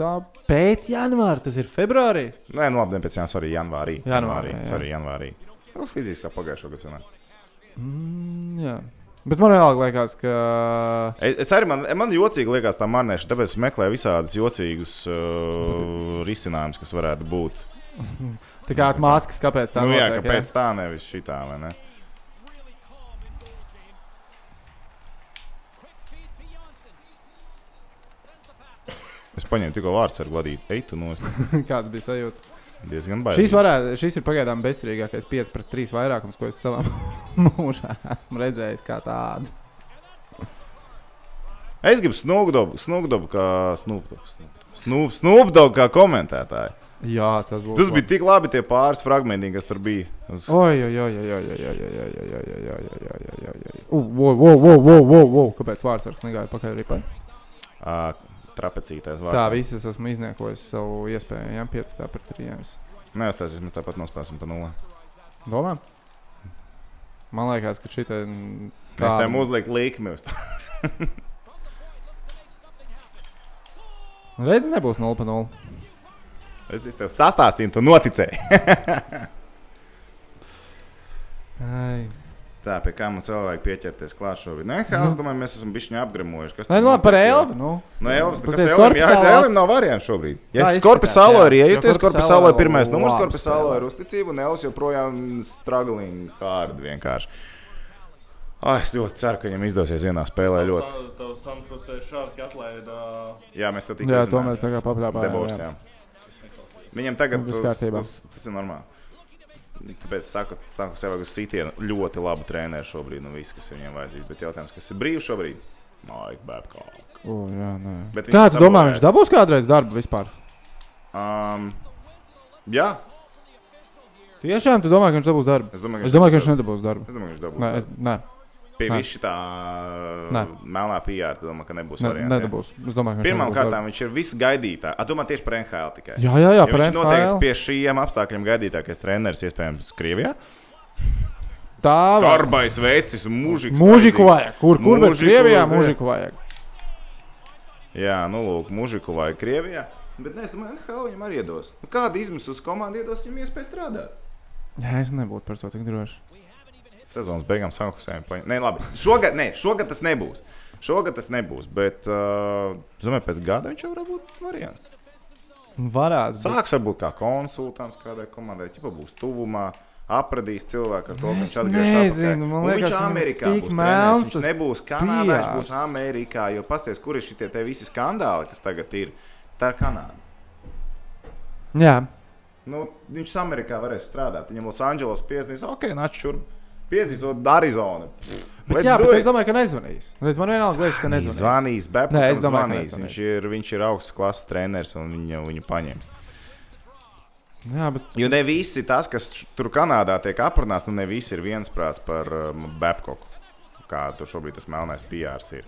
A: tā pēc janvāra, tas ir februārī.
B: Nē, nu labi, ne pēc janvāra, arī janvārī.
A: Janvārī, jā.
B: Arī janvārī. Tas līdzīgs kā pagājušā gada scenā.
A: Mm, jā. Bet man reāli liekas, ka.
B: Es, es arī man, man jocīgi liekas tā marnēšana, tāpēc es meklēju visādus jocīgus uh, risinājumus, kas varētu būt.
A: Tā kā ar maskas, kāpēc tā
B: Tā nu, jā,
A: notiek,
B: kāpēc jā. tā nevis šitā? vai Ne? Es paņēmu tikko vārdu ar vadību. Ej, tu no stūres.
A: Kāds bija sajūta?
B: Diezgan
A: Šīs,
B: baidīgs.
A: varētu, šīs ir pagaidām bezcerīgākais 5 pret 3 vairākums, ko es savā mūžā esmu redzējis kā tādu.
B: Es gribu snūgdobu, snūgdobu kā snūgdobu. snūgdobu, Snūpdog kā komentētāji.
A: Jā, tas būs.
B: Tas bija tik labi tie pāris fragmenti, kas tur bija. Uz...
A: Oi, oi, oi, oi, oi, oi, oi, oi, oi, oi, oi, oi, oi, oi, oi, oi, oi. U, Wow, wow, wow, wow, wow, wow. Kāpēc vārdsargs negāja pakaļ ripai?
B: Ā, Trapecītais vārds.
A: Tā visas esmu izniekojis savu iespēju, ja 5 tā par 3.
B: Nē, es tās vismaz tāpat nospēsim pa nulli.
A: Domā? Man liekas, ka šī te mm,
B: Mēs
A: kāda-
B: tam uzliek līkmi uz tā.
A: Redz, nebūs 0 pa 0.
B: Es es tev sastāstīju, tu noticēji.
A: Ai.
B: Tā, pie kā mums vēl vajag pieķerties klāt šobrīd? Nē, kā es domāju, mēs esam bišķiņā apgramojuši. Kas
A: Nu. Nē,
B: tur
A: nu labi, par
B: notiek?
A: Elvi. Nu.
B: No Elvis,
A: Pat
B: kas
A: ja
B: Elvis, jā, es
A: Skorpisalo-
B: Elvis nav variants šobrīd. Ja
A: Tā
B: es Skorpisalo
A: izskatās,
B: ir
A: jā.
B: ieieties,
A: Jo
B: Skorpisalo ir
A: Korpisalo
B: pirmais Nu, numurs,
A: labs
B: Skorpisalo
A: spēlē.
B: ir uzticība un Elvis joprojām struggling hard vienkārši. Ah, es ļoti ceru, ka viņam izdosies vienā spēlē ļoti.
C: Tavs samprusē šārki atlaida.
B: Jā, mēs to tikko
A: Jā, to mēs tā kā
B: Debors,
A: paprāpājām.
B: jā. Viņam tagad uz,
A: Nu, viss kārtībā.
B: uz, tas ir normāli. Tāpēc saku, saku sev, ka sitienu ļoti labu treneru šobrīd, nu viss, kas ir viņam vajadzīgs. Bet jautājums, kas ir brīvs šobrīd? Mike Babcock.
A: O, jā, nē.
B: Bet viņš
A: Kā tu domā, viņš
B: sabojājās.
A: dabūs kādreiz darbu vispār?
B: Um, jā,
A: Tiešām tu domā, ka viņš dabūs darbu?
B: es domāju,
A: Es domāju, ka viņš nedabūs darbu.
B: Es domāju, ka viņš dabūs.
A: Nē, es, nē,
B: Pie
A: nē.
B: viša tā
A: Nē.
B: melnā PR, tad domāju, ka nebūs
A: ne,
B: varianti. ja?
A: nedabūs. Es domāju, ka viņš nedabūs
B: Pirmkārt,
A: darbu.
B: viņš ir visgaidītākais. Domā tieši par NHL tikai.
A: Jā, jā, jā,
B: Ja
A: par
B: viņš noteikti
A: NFL.
B: pie šiem apstākļiem gaidītākais treneris, iespējams, Krievijā.
A: Tā var.
B: Arbais veicis un mūžīgs.
A: Mūžiku vajag. Kur, kur, bet
B: Mūžiku
A: Krievijā
B: vajag.
A: mūžiku vajag.
B: Jā, nu lūk, mūžiku vai Krievijā. Bet nē, es domāju, NHL viņam arī iedos. Nu, Kāda izmisuma uz komandu iedos viņam iespēju strādāt?
A: Jā, es nebūtu par to tik droši.
B: Sezonas beigām Sankusēm. Nē, labi. Šogad, nē, šogad tas nebūs. Šogad tas nebūs, bet, uh, es domāju, pēc gada viņš jau var būt variants.
A: Varētu. būt.
B: Sāks varbūt kā konsultants kādai komandai, ja būs tuvumā. Apradīs cilvēku ar to, ka
A: Es
B: viņš atgriezīsies.
A: nezinu, man liekas,
B: viņš
A: viņam
B: Amerikā
A: tik
B: būs
A: melns
B: melns. Viņš
A: tas
B: nebūs Kanādā, viņš
A: pijārs.
B: būs Amerikā. Jo pasties, kur ir šitie te visi skandāli, kas tagad ir. Tā ir Kanāda.
A: Jā,
B: Nu, viņš Amerikā varēs strādāt. Viņam Losandželos piesnīs, ok, nāc šurp. Piesnīs, ot, Arizona.
A: bet, jā, bet es domāju, ka nezvanīs. Es man vienalga liekas, ka
B: Viņš
A: nezvanīs.
B: zvanīs, bet
A: Nē,
B: viņš
A: es domāju, ka
B: zvanīs.
A: nezvanīs.
B: Viņš ir, viņš ir augsts klases treneris un viņu, viņu paņems.
A: Jā, bet
B: Jo ne visi tas, kas š- tur Kanādā tiek aprunāts, nu ne visi ir viensprāts par um, Babkoku. Kā tur šobrīd tas melnais PRs ir.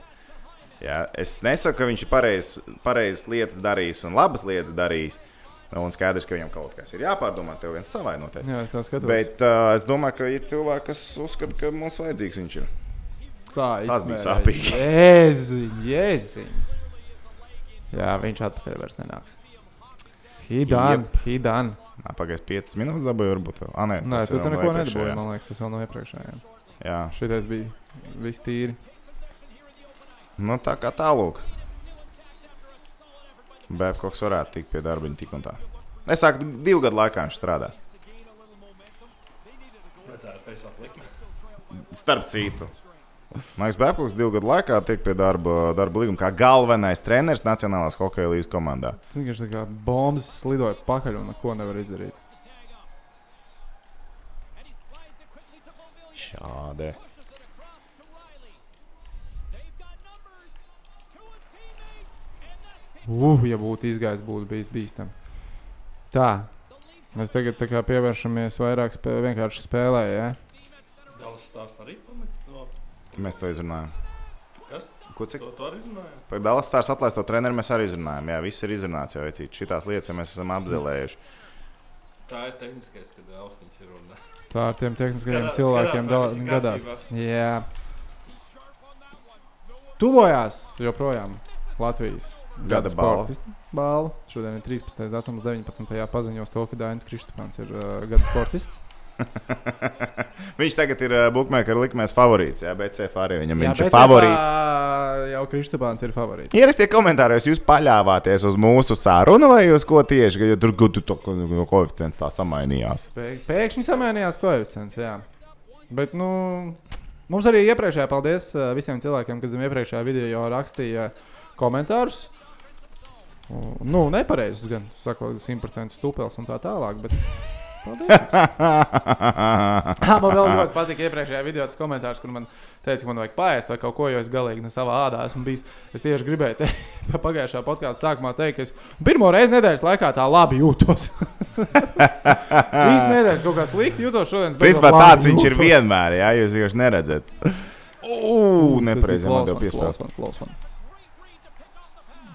B: Jā, es nesaku, ka viņš ir pareizs pareiz lietas darījis un labas lietas darījis. Nu, Un skaidrs, ka viņam kaut kas ir jāpārdomā, tev viens savai noteikti.
A: jā, es tā skatos.
B: Bet uh, es domāju, ka ir cilvēki, kas uzskata, ka mums vajadzīgs viņš ir.
A: tā
B: Tas bija
A: izmērē.
B: sāpīgi.
A: Jēziņ, jēziņ. Jā, viņš atpakaļ vairs nenāks. Hidan, hidan.
B: Nā, Pagājis 5 minūtes, dabūju, varbūt. vēl. Ah, nē,
A: Nē,
B: tas
A: tu
B: ir
A: tur
B: vēl
A: neko
B: iepriekšējā.
A: nedabūji, man liekas, tas vēl no iepriekšējiem.
B: Jā,
A: Šitais bija viss tīri.
B: nu tā kā tālāk. Bēbkoks varētu tikt pie darba, viņa tik un tā. Es saku, divu gadu laikā viņš strādās. Starp citu. Maiks Bēbkoks divu gadu laikā tiek pie darba, darba līguma kā galvenais treneris Nacionālās hokeja līnijas komandā.
A: Tas vienkārši tā kā bombas slidoja pakaļ un neko nevar izdarīt.
B: Šādi.
A: Uh, ja būtu izgājis, būtu bijis bīstami. Tā. Mēs tagad tā kā pievēršamies vairāk spē vienkārši spēlē. Ja?
C: Galas stāsts arī pameta. No,
B: Mēs to izrunājam.
C: Kas?
B: Ko cik?
C: to, to arī zināju.
B: Par Dallas Stars atlaisto treneru mēs arī runājam. Jā, viss ir izrunāts jau vecīt. Šitās lietas jau mēs esam apzelējuši.
C: Tā ir tehniskais, kad austiņas ir un.
A: Tā ar tiem tehniskajiem cilvēkiem dala- gadās. Jā. Tuvojās joprojām Latvijas
B: Gada balva.
A: sportista balva. Šodien ir 13. datums, 19. paziņos to, ka Dainis Kristofans ir uh, gada sportists.
B: Viņš tagad ir uh, bookmaker likmēs favorīts. Jā, BCF arī viņam
A: Jā,
B: viņš ir
A: bet,
B: favorīts.
A: ā, Jau Kristofans ir favorīts.
B: Ierastie komentāros, jūs paļāvāties uz mūsu sarunu vai uz ko tieši, ka jo tur gudu to ko- no koeficients tā samainījās.
A: Pēk, pēkšņi samainījās koeficients. Jā. Bet, nu, mums arī iepriekšējā paldies uh, visiem cilvēkiem, kas zem iepriekšējā video jau rakstīja komentārus. Uh, Nu, nepareizus, gan sakot, 100% stūpēs un tā tālāk. Bet, Jā, man vēl ļoti patīk iepriekšējā video tas komentārs, kur man teica, ka man vajag pāriest vai kaut ko, jo es galīgi ne savā ādā esmu bijis. Es tieši gribēju te, pagājušā podkāstā sākumā teikt, ka es pirmo reizi nedēļas laikā tā labi jūtos. Visu nedēļas kaut kā slikti jūtos šodien. es
B: Principā
A: beidzot labi
B: tāds viņš ir
A: jūtos.
B: vienmēr, jā, jūs vienkārši neredzat. Ugh,
A: Tas
B: nepareizi
A: bija
B: man te
A: klaus
B: piespēlēt.
A: man, klaus man, klaus man.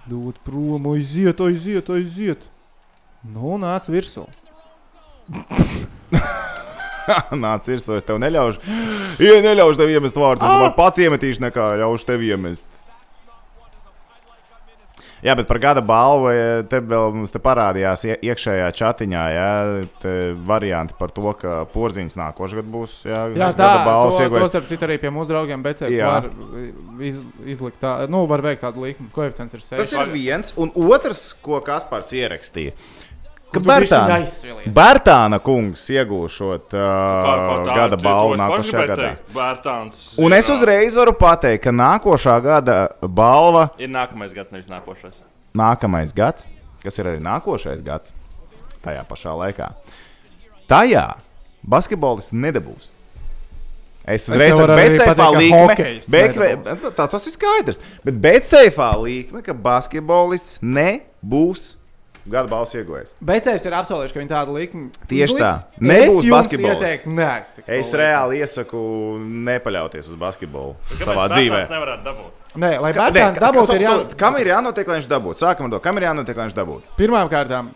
A: Dod prom, aiziet, aiziet, aiziet. Nu, nāc virsū.
B: Nāc, ir savs, tev neļaušu. Ja neļaušu tev iemest vārdus,
A: Ah!
B: tad man pats iemetīšu, nekā ļaušu tev iemest. Jā, bet par gada balvu eh, te vēl mums te parādījās ie- iekšējā chatiņā, jā, te varianti par to, ka porziņš nākošais gads būs. Jā,
A: Jā, tā
B: gada balvas
A: ir.
B: ieguvējs.
A: Starp citu, arī pie mūsu draugiem BC
B: Jā.
A: var iz, izlikt tādu, nu, var veikt tādu līkumu. Koeficients ir 6.
B: Tas ir viens, un otrs, ko Kaspars ierakstīja. Ka
A: Bertāna.
B: Bertāna, Bertāna kungs iegūs šo uh, gada balvu nākošajā gadā.
C: Vērtāns.
B: Un es uzreiz varu pateikt, ka nākošā gada balva
C: Ir nākamais gads, nevis nākošais.
B: nākamais gads, kas ir arī nākošais gads, tajā pašā laikā. Tajā basketbolists nedabūs. Es uzreiz
A: tev varu
B: saku,
A: arī
B: bet
A: pateikt, ka
B: līkme,
A: hokejists
B: bet, nu, tā, tas ir skaidrs. Bet betseifā līkme, ka basketbolists nebūs gada balss ieguvējis.
A: Beidzējs ir apsolījis, ka viņi tādu likumu
B: Tieši tā. Nebūs
A: Nebūs
B: basketbolists.
A: basketbols.
B: Es reāli iesaku nepaļauties uz basketbolu savā
C: Kāpēc
B: dzīvē.
C: Bērtāns nevarētu dabūt.
A: Nē, lai
B: Nē,
A: Bērtāns
B: ka-
A: dabūtu,
B: kas-
A: ir jā...
B: Kam ir jānotiek, lai viņš dabūtu? Sākam ar to, kam ir jānotiek, lai viņš dabūtu.
A: pirmām kārtām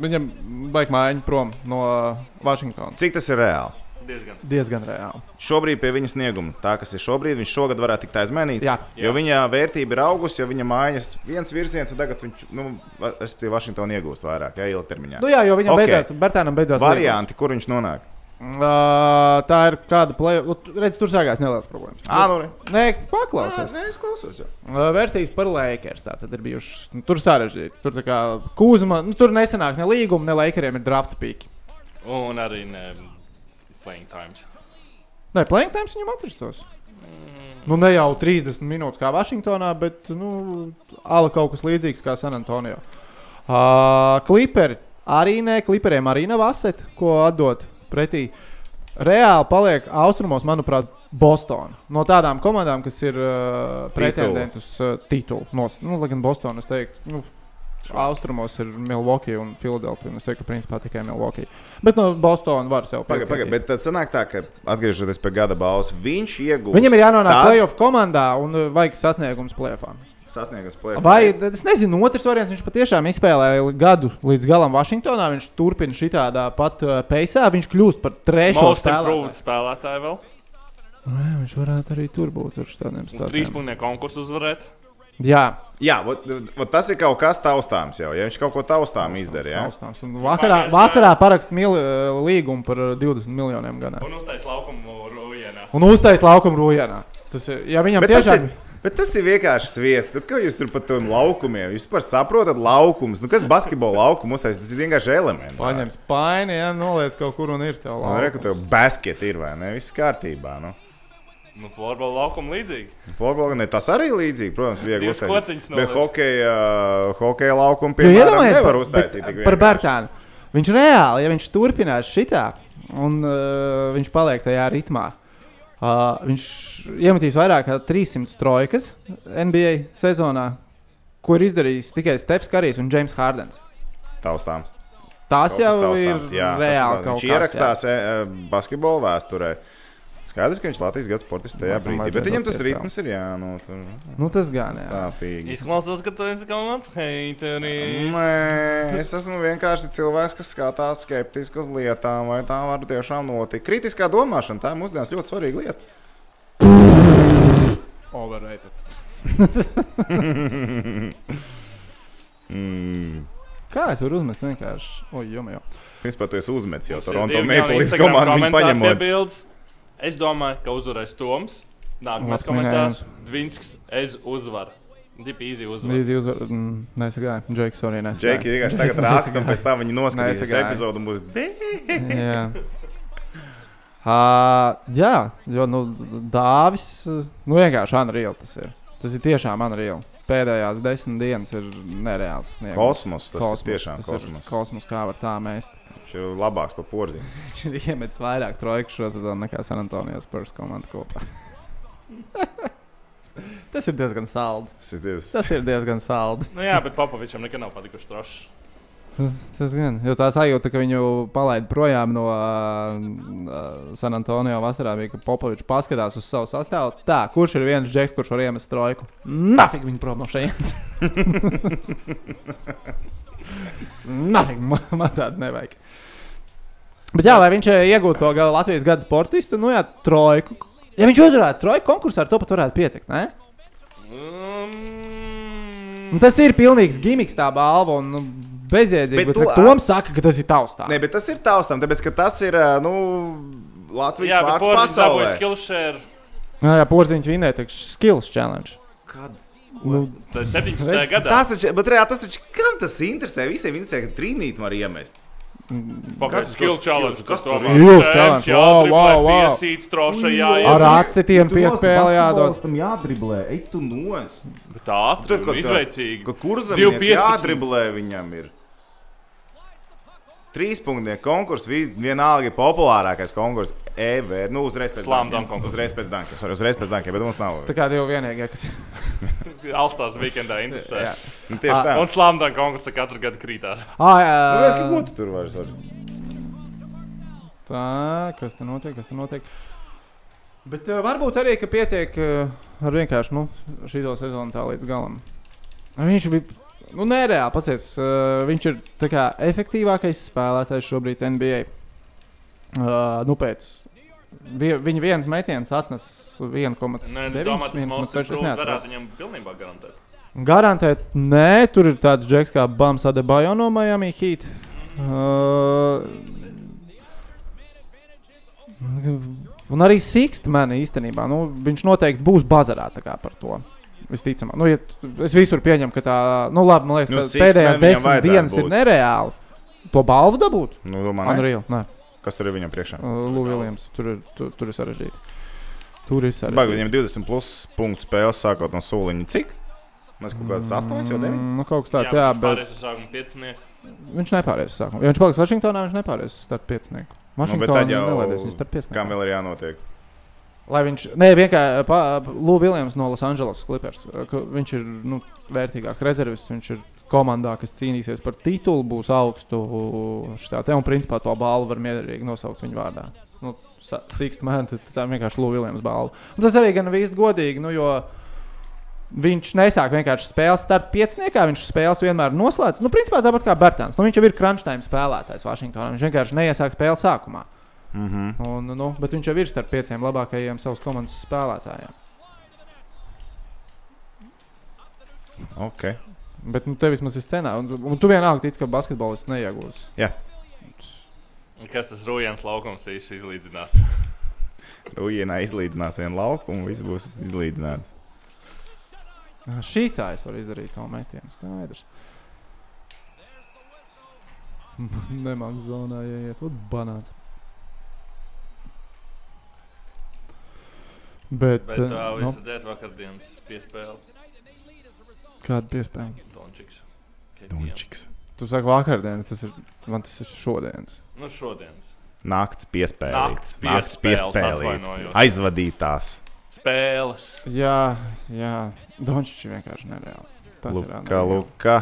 A: viņam vajag mājiņu prom no
B: uh,
A: Vašingtonas.
B: Cik tas ir reāli?
C: Diezgan.
A: Diezgan reāli.
B: Šobrīd pie viņa snieguma, tā kas ir šobrīd, viņš šogad varētu tikt aizmainīts.
A: Jā.
B: Jo viņa vērtība ir augusi, jo viņa mājas viens virziens, un tagad viņš, nu, va- es pie Vašingtona iegūst vairāk, jā, ilgtermiņā.
A: Nu jā, jo viņam
B: Ok.
A: okay. beidzās, Bērtānam beidzās līgums.
B: Varianti, kur viņš nonāk?
A: Ā, tā ir kāda plēja. Redz, tur sākās nelielas problēmas.
B: Ā, nu, re.
A: Nē, paklausies.
B: Nē, es klausos. jau.
A: Uh, Versijas par Lakers. Tā tad ir bijušas. Nu, tur sarežģīti. Tur tā kā kūzma, nu, tur nesenāk ne līguma, ne Lakeriem ir draft pīki.
C: Un arī ne playing times.
A: Nē, playing times viņam atrastos. Nu, ne jau 30 minūtes kā Vašingtonā, bet nu, ala kaut kas līdzīgs kā San Antonio. Uh, Kliperi arī nē, kliperiem arī nav aseti, ko atdot pretī. Reāli paliek austrumos, manuprāt, Bostonā. No tādām komandām, kas ir uh, pretendenti uz uh, titulu. Nos, nu, lai gan Bostonā es teiktu, nu, austrumos ir Milwaukee un Filadelfija. un Es teiktu, ka principā tikai Milwaukee. Bet no Bostonas var sev
B: Pagaid, pagaid, bet tad sanāk tā, ka atgriežoties pie gada balvas, viņš iegūst.
A: Viņam ir jānonāk
B: tādu-
A: playoff komandā un uh, vajag sasniegums plēfām.
B: sasniegums plēsoņā.
A: Vai es nezinu, otrs variants. Viņš patiešām izspēlēja gadu līdz galam Vašingtonā. Viņš turpina šitādā pat uh, peisā. Viņš kļūst par trešo
C: Most improved
A: spēlētāju.
C: spēlētāji vēl.
A: Nu jā, Viņš varētu arī tur būt ar tādiem
C: Un Trīs
A: stāstiem.
C: punktu konkursu uzvarēt.
A: Jā,
B: Jā, vot, vot tas ir kaut kas taustāms jau. Ja viņš kaut ko taustām izdarīja,
A: tas ir. Vakarā, vasarā parakst mil, uh, līgumu par uh, 20 miljoniem gadā.
C: Un uztais laukumu rujienā.
A: Un uztais laukumu Rūjānā. Tas ir, ja viņam
B: Bet,
A: bet
B: tas
A: tiešām.
B: ir, bet tas ir vienkārši sviests. Tad, Ko jūs tur par tiem laukumiem? Jūs vispār saprotat laukumus. Nu, kas basketbola laukumus tas ir vienkārši elements.
A: Paņem spaini, ja noliec kaut kur un ir tev
B: Man liekas, ka
A: labi.
B: tev basketbola ir vai ne? Viss kārtībā. Nu.
C: Nu, florbola laukuma līdzīgi.
B: Florbola ne tas arī līdzīgi, protams, viegli
C: Divas
B: uztaisīt.
C: kociņas
B: Bet
C: noliec.
B: hokeja, hokeja laukumu
A: Jo
B: piemēram
A: iedomājies
B: nevar
A: par-
B: uztaisīt
A: bet
B: tik
A: Par
B: vienkārši.
A: Bērtānu. Viņš reāli, ja viņš turpinās šitā, un uh, viņš paliek tajā ritmā, uh, viņš iemetīs vairāk kā 300 trojkas NBA sezonā, ko ir izdarījis tikai Stefs Kārijs un Džeims Hārdens.
B: Taustāms.
A: Tas
B: Kaut
A: jau
B: kas
A: ir
B: taustāms, jā, tas
A: reāli
B: ir-
A: kaut
B: Viņš
A: kas tāds.
B: ierakstās e, e, basketbola vēsturē. Skaidrs, ka viņš Latvijas gada sportists tajā
A: Laikam
B: brīdī. Bet
A: vajadzētu
B: viņam tas
A: attiekt, jā.
B: ritms ir jānotur.
A: Nu, tas gan ir.
B: Sāpīgi.
C: Izklausās, ka tu esi kaut kāds heiteris.
B: Nē, es esmu vienkārši cilvēks, kas skatās skeptiski uz lietām, vai tā var tiešām notikt. Kritiskā domāšana, tā ir mūsdienās ļoti svarīga lieta.
A: Overrated.
B: Mm.
A: Kā es varu uzmest vienkārši? Oi, jomā, jau.
B: Principā tas uzmets jau
C: Mums ir
B: Toronto
C: divi
B: Maple
C: jauni
B: Leafs
C: Instagram
B: komandu viņu
C: komentāri
B: paņemot.
C: piebildes. Es domāju, ka uzvarēs Toms. Nākamais
A: Labs
C: komentārs - Dvinsks, es uzvaru. Dipi īsi uzvaru.
A: Līdzi uzvar... mm, Nesagāja. Džeiks arī nesagāja.
B: Džeki vienkārši tagad raksta, un pēc tam viņi noskatīs
A: Nesagāja.
B: epizodu un būs "Dē!"
A: Jā, uh, jā jo nu, dāvis uh, nu, vienkārši unreal tas ir. Tas ir tiešām unreal. Pēdējās desmit dienas ir nereāls sniegs.
B: kosmos. Tas ir tiešām kosmos.
A: Kosmos, kā var tā mēst.
B: Viņš ir labāks par porziņu.
A: Viņš ir iemetis vairāk trojku šo sezonu nekā San Antonijas Spurs komanda kopā. Tas ir diezgan saldi.
B: Tas ir diezgan
A: Tas ir diezgan saldi.
C: Nu, jā, bet Papavičam nekad nav patikuši troši.
A: Tas gan. Jo tā sajūta, ka viņu palaid projām no uh, San Antonio vasarā, bija, ka Popovičs paskatās uz savu sastāvu. Tā, kurš ir viens džeks, kurš var iemest trojku? Nafik viņa prom no šejienes. Nafik man, man tādu nevajag. Bet jā, vai viņš eh, iegūtu to gala Latvijas gada sportistu, nu jā, trojku. Ja viņš uzvarētu trojku konkursā, ar to pat varētu pietikt. Ne? Un
C: Mm. Um,
A: Tas ir pilnīgs gimiks, tā balva. Un, nu, bezjēdzīgi.
B: Bet
A: Bet,
B: tu-
A: bet Toms saka, ka tas ir tavs. tā.
B: Nē, bet tas ir taustām, tāpēc ka tas ir ā, nu, Latvijas
C: jā, bet
B: vārds
C: Porzins dabūja
B: pasaulē.
C: skillshare.
A: Jā, jā porziņš vinēja, tā kā skills challenge.
B: Kad?
A: Nu,
C: Tas ir 17.
A: Redz,
C: gadā.
B: Tas taču, bet reāli tas taču, kam tas interesē? Visiem interesē, ka trīnīt var iemest.
C: Pagaid,
B: tas
C: skill
B: skills-
C: challenge.
B: kas
C: Kas
B: tas
C: to
A: ir? Skills challenge, wow, wow, wow.
C: Piesīts trošajā. jā.
A: ar acīm piespēlē jādod.
B: Tam jātriblē, ej tu nos.
C: Bet tā ātri un Nu, izveicīgi.
B: Kurzam
C: 2.15.
B: jātriblē viņam ir? Trīspunktnieku konkurss, vi- vienalga ir populārākais konkurss ever. Nu, uzreiz pēc
C: Slam
B: dunkiem.
C: dunk konkurss.
B: Uzreiz pēc dunkiem, sorry, uzreiz pēc dunkiem, bet mums nav.
A: Tā kā divi vienīgie, kas ir.
C: Alstārs weekendā interesē.
A: Jā.
B: Nu, Tieši tā.
C: Un slāmdām konkursā katru gadu krītās.
A: Ah,
B: Nu, Es kā
A: jā,
B: ko tu tur vairs vari?
A: tā, kas tur notiek, kas tur notiek. Bet uh, varbūt arī, ka pietiek uh, ar vienkārši nu, šo sezonu tā līdz galam. Viņš bija. Nu, nereāli pasies. Uh, viņš ir tā kā efektīvākais spēlētājs šobrīd NBA. Uh, nu, pēc. Vi, viņa viens metiens atnesa 1,9.
C: Nē, es domāju, tas mums ir
A: es neatceros.
C: grūti. Viņam pilnībā garantēt.
A: Garantēt, nē, tur ir tāds džeks kā Bams Adebayo no Miami Heat. Uh, un arī Sixtmena īstenībā, nu, viņš noteikti būs bazarā tā kā par to. Visticamāk, nu, ja, tu- es visur pieņemu, ka tā, nu, labi, man liekas,
B: Nu,
A: nu,
B: Sixtman
A: pēdējās
B: viņam
A: desmit
B: vajadzētu
A: dienas
B: būt.
A: ir nereāli. To balvu dabūt?
B: Nu, domā, ne?
A: Unreal, nē,
B: Kas tur ir viņam priekšā?
A: Lūk, Viljams, tur ir, tur, tur ir sarežģīti. Tur ir sarežģīti.
B: Baigi, viņam 20 plus punktu spēles sākot no soliņa. Cik? Mēs kaut kāds 8 jau 9.
A: Mm, Nu, kaut kas tāds, jā, jā bet
C: Pārējais uz sākuma piecinieku.
A: Viņš nepāries uz sākumu. Ja viņš paliks Vašingtonā, viņš nepāries uz starp piecinieku. Vašingtonā
B: tad
A: jau
B: jau-
A: nelaidīs viņu starp
B: Kam
A: piecinieku.
B: vēl ir jānotiek?
A: Lai viņš, nē, vienkārši Lūks Viljams no Los Angeles Clippers. ka Viņš ir nu, vērtīgāks rezervists, viņš ir komandā, kas cīnīsies par titulu, būs augstu šitā te, un principā to balvu var mierīgi nosaukt viņa vārdā. Nu, Sīkst man, tad tā vienkārši Lūks Viljams balva. Un tas arī gan viss godīgi, nu, jo viņš nesāk vienkārši spēlēt starp pieciniekā, viņš spēles vienmēr noslēdz. Nu, principā tāpat kā Bērtāns. Nu, viņš jau ir crunchtime spēlētājs Vašingtonā. Viņš vienkārši neiesāk spēli sākumā.
B: Mm -hmm.
A: Un, nu, bet viņš jau ir starp pieciem labākajiem savas komandas spēlētājiem.
B: okay.
A: Bet nu, tev vismaz ir scenā, un, un tu vienalga tici, ka basketbolists neiegūs.
C: Kas tas Rujans laukums īsti izlīdzinās?
B: Ujienā izlīdzinās vienu laukumu, viss būs izlīdzināts.
A: Šī tā es varu izdarīt to metienu. Skaidrs. Nemāk zonā ieiet, ot banāts. Bet,
C: Bet uh, tā
A: eh, nu,
C: visu dzēt vakardienas piespēle.
A: kāda piespēja?
C: Dončiks. KPM.
B: Dunčiks.
A: Tu saki, vakardienas, tas ir man tas ir šodienas.
C: Nu šodienas.
B: Nakts piespēlīts.
C: Nakts piespēles, atvainojos.
B: Aizvadītās.
C: Spēles.
A: Jā, jā. Dončičs ir vienkārši nereāls. Tas ir
B: Luka,
A: anormāli.
B: Luka.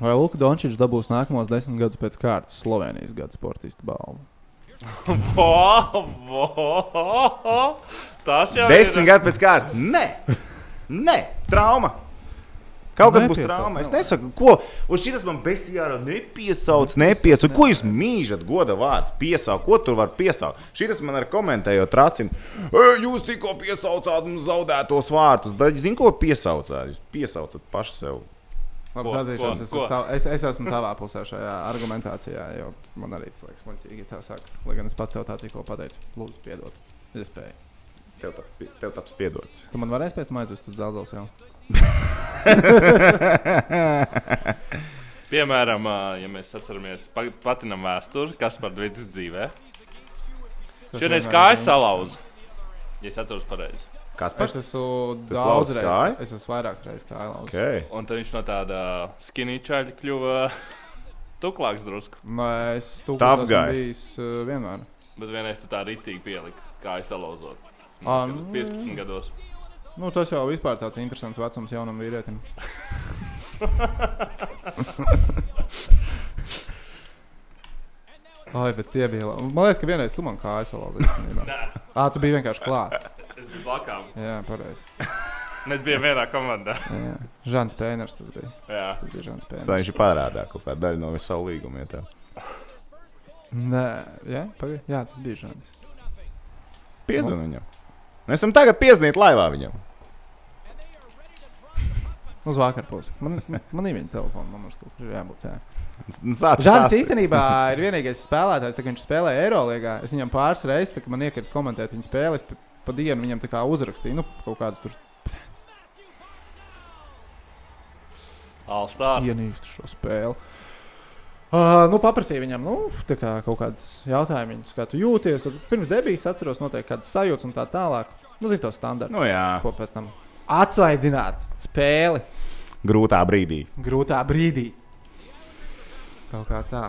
A: Vai Luka Dončičs dabūs nākamos desmit gadus pēc kārtas Slovenijas gada sportistu balvu?
C: Vo, vo. Tas jau
B: Desmit
C: ir.
B: gadu pēc kārtas. Nē, nē, trauma. Kaut kad būs
A: Nepiesauc,
B: trauma. Es
A: nav.
B: nesaku, ko. Un šis man besijāra nepiesauc, nepiesauc. Ko jūs mīžat, goda vārds? Piesauc, ko tur var piesaukt? Šis man ar komentējot tracinu. "E, Jūs tikko piesaucāt mums zaudētos vārtus. Bet zinu, ko piesaucāt? Jūs piesaucat paši sev.
A: Labi,
C: Ko,
A: atzīšos,
C: ko,
A: es,
C: ko?
A: esmu tav, es, es esmu tavā pusē šajā argumentācijā, jo man arī tas liekas muļķīgi, ja tā saka. Lai gan es pats tev tā tikko pateicu, lūdzu, piedod. Iespēju.
B: Tev tā- Tev taps piedots.
A: Tu man varēsi pēc tam aizvest uz dzelzceļa jau.
C: Piemēram, ā, ja mēs atceramies pa- patinam vēsturi, kas par dvicis dzīvē.
A: Tas
C: Šodien
A: vienmēr
C: kājas
A: ir
C: salauza. Ja es atceros pareizi.
B: Kas
A: interesanti.
B: par
A: Es esmu
B: Tas
A: daudz
B: lauks
A: reizes.
B: kāju?
A: Es esmu vairākas reizes kājām.
B: okay.
C: Un tad viņš no tāda skinīčaļa kļuva Tuklāks drusku,
A: Nē, es tur
B: Tough guy.
A: bijis uh, vienmēr.
C: bet vienreiz tu tā rītīgi pieliki, kā es alauzot.
A: Ā,
C: Man
A: nu,
C: liekas, 15 gados.
A: Nu, tas jau vispār tāds interesants vecums jaunam vīrietim. Ai, bet tie bija labi. Man liekas, ka vienreiz tu man kā aizsalauzīji. Ā, tu biji vienkārši klāt.
C: Es biju blakām.
A: Jā, pareizi.
C: Mēs bijām vienā komandā.
A: Jā. Žants Pēners tas bija.
C: Jā.
A: Tas bija Žants Pēners.
B: Viņš ir pārādā kaut kāda daļa no visā līguma. Ja tā.
A: Nē, jā, pagaidi. Jā, tas bija Žants. Nu.
B: Piezvan viņam. Mēs esam tagad piezvanīti laivā viņam.
A: Uz vakarpusi. Man, man ir viņa telefona numurs, kurš ir jābūt. Jā.
B: Zācis
A: Žants
B: stāsta.
A: īstenībā ir vienīgais spēlētājs, tā, ka viņš spēlē Eirolandā. Es viņam pāris reizes, tā, kad man iekrita komentēt viņa spēles, pa, pa dienu viņam tā kā uzrakstīju nu, kaut kādus tur
C: Alstā.
A: ienīstu šo spēli. Uh, nu, paprasīju viņam, nu, tā kā kaut kādas jautājumas, kā tu jūties. Tad pirms debijas atceros noteikti kādas sajūtas un tā tālāk. Nu, zinu, to standartu.
B: Nu jā,
A: Ko pēc tam atsaidzināt spēli
B: grūtā brīdī.
A: grūtā brīdī. Kaut kā tā.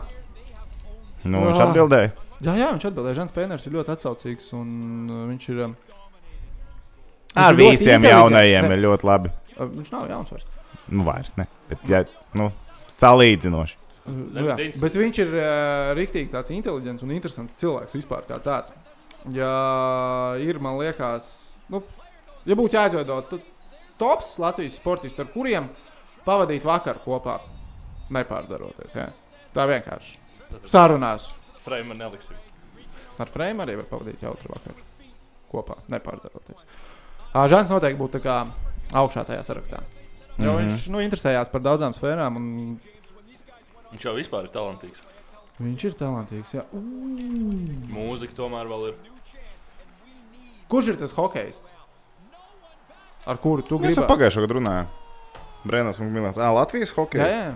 B: Nu, viņš
A: Ah.
B: atbildēja.
A: Jā, jā, viņš atbildēja, Žants Pēners ir ļoti atsaucīgs un uh, viņš ir. um, viņš
B: Ar
A: ir ļoti
B: visiem
A: inteliģents.
B: jaunajiem
A: Ne,
B: ir ļoti labi.
A: uh, Viņš nav jauns vairs.
B: Nu, vairs ne. Bet, ja, nu, salīdzinoši.
A: Uh, Nu, jā.
C: Deviņdesmit.
A: Bet viņš ir uh, rīktīgi tāds inteliģents un interesants cilvēks vispār kā tāds. Ja ir, man liekas, nu, ja būtu jāizveido t- tops Latvijas sportistus, ar kuriem pavadīt vakaru kopā, nepārdzaroties. Jā. Tā vienkārši. Sarunās
C: Frame un eliksīvi.
A: ar Frēmu arī var pavadīt jautru vakaru kopā, nepārdzaroties. Ā, Žants noteikti būtu tā kā augšā tajā sarakstā. Jo mm -hmm.
B: Mhm.
A: viņš nu, interesējās par daudzām sfērām, un
C: Viņš jau vispār ir talantīgs.
A: viņš ir talantīgs. Jā. Ū!
C: Mūzika tomēr vēl ir.
A: Kurš ir tas hokejs? Ar kuru tu
B: Mēs
A: gribi
B: jau pagājušā gada runājām. Brēnās Makmilans. Ā, Latvijas
A: Jā,
B: hokeja.
A: jā.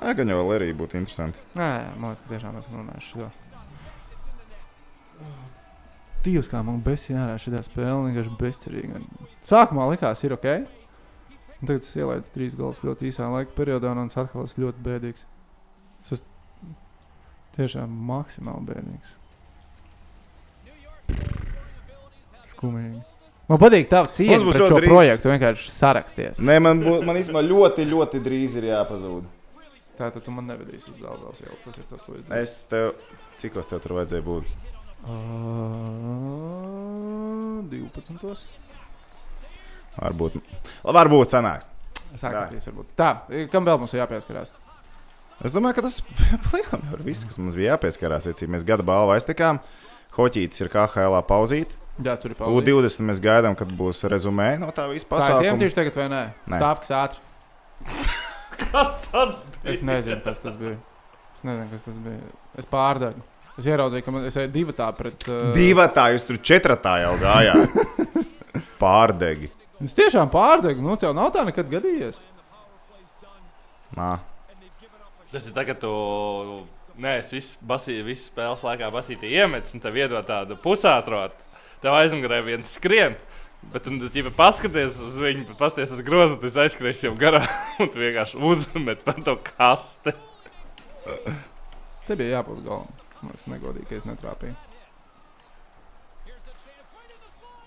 B: Jā, gan jau vēl arī būtu interesanti.
A: Nē, man liekas, ka tiešām esam runājuši šo. Tīvs, kā man besija ārā šajā spēlē, vienkārši bezcerīgi. Sākumā likās, ir ok. Un tagad es ielaidu trīs galus ļoti īsā laika periodā, un tas atkal ir ļoti bēdīgs. Es esmu tiešām maksimāli bēdīgs. Skumīgi. Man patīk tā cīņa
B: Mums būs
A: par
B: ļoti
A: šo
B: drīz-
A: drīz. projektu. Vienkārši saraksties.
B: Nē, man, bū, man īstenībā ļoti, ļoti drīz ir jāpazūd.
A: Tā tad tu man nevedīsi uz zelta ielu. Tas ir tas, ko es dzirdu.
B: Es tev, cikos tev tur vajadzēja būt?
A: Ā, 12.
B: Varbūt, varbūt sanāks.
A: Sākotnēji, varbūt. Tā, kam vēl mums ir jāpieskarās?
B: Es domāju, ka tas plakāts ir viss, kas mums bija jāpieskarās. Ja mēs gada balvu aiztekām, Hoķītis ir KHL pauzīt.
A: Jā, tur ir pavisam.
B: U20 mēs gaidām, kad būs rezumē no tā visa
A: Tā es
B: pasākuma.
A: iemetīšu tagad, vai nē?
B: Nē.
A: Stāvkas ātri.
C: Kas tas bija?
A: Es nezinu, kas tas bija. Es nezinu, kas tas bija. Es pārdevu. Es ieraudzīju, ka man ir divi tādi pret. Uh,
B: Divi tā, jūs tur četratā jau gājāt. Pārdegi.
A: Es tiešām pārdevu. Nu, tev nav tā nekad gadījies.
B: Nā.
C: Tas ir tagad, kad tu. Nē, es visu, basī, visu spēles laikā basīju iemetu, un tev iedod tādu pusātrot. Tev aizmugurē viens skrien. Bet, un, ja paskaties uz viņu, bet paskaties uz grozu, tas aizskries jau garām, un tu vienkārši uzmet par to kasti.
A: Te bija jābūt galam. Man tas negodīgi, ka es netrāpīju.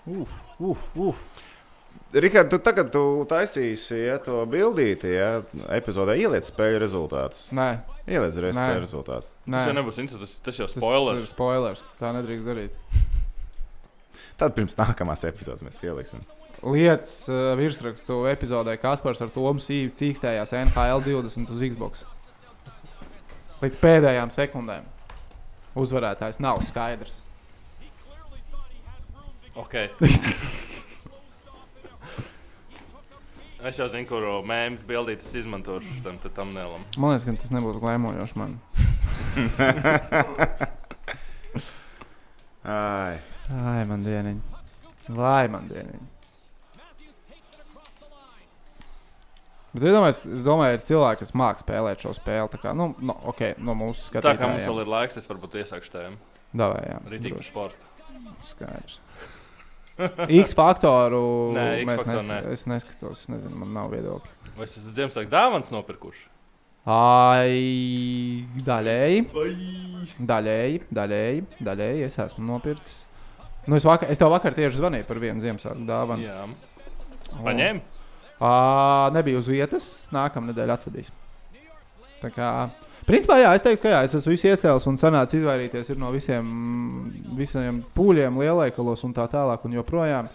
A: Uf, uf, uf.
B: Rikārd, tu tagad tu taisīsi ja, to bildīti, ja epizodē ieliec spēļu rezultātus.
A: Nē,
B: Ieliec arī
A: Nē.
B: spēļu rezultātus.
A: nē.
C: Tas jau nebūs interesants, tas jau
A: Tas ir
C: spoilers.
A: spoilers. Tā nedrīkst darīt.
B: Tad pirms nākamās epizodes mēs ieliksim.
A: Lietas uh, virsrakstu epizodē Kaspars ar Tomu Sīvu cīkstējās NHL 20 uz Xbox. Līdz pēdējām sekundēm. Uzvarētājs nav skaidrs.
C: Okay. es jau zinu, kuru mēmijas bildītes izmantošu tam te thumbnailam.
A: Man liekas, ka tas nebūs glēmojoši man.
B: Ai.
A: Ai, man dieniņa. Vai man dieniņa. Bet es domāju, es domāju, ir cilvēki, kas māca spēlēt šo spēli. Tā kā, nu, no, ok, no mūsu
C: Tā,
A: skatījuma.
C: tā kā mums vēl ir laiks, es varbūt iesākšu tēmu.
A: Davējām.
C: Rītīgi par sportu.
A: Skaidrs. X faktoru
C: Nē, X
A: mēs
C: faktoru
A: neska-
C: nē.
A: es neskatos. Es nezinu, man nav viedokļa.
C: Vai es esmu Ziemassvētku dāvāns nopirkuši?
A: Ai, daļēji. Daļēji, daļēji, daļēji es esmu nopircis. Nu, es, vakar, es tev vakar tieši zvanīju par vienu Ziemassvētku dāvanu.
C: Jā, paņēma.
A: Ā, Nebija uz vietas, nākamā nedēļa atvedīs. Tā kā, principā, jā, es teiktu, ka jā, es esmu visu iecēlis un sanācis izvairīties ir no visiem, visiem pūļiem, lielveikalos un tā tālāk. Un joprojām.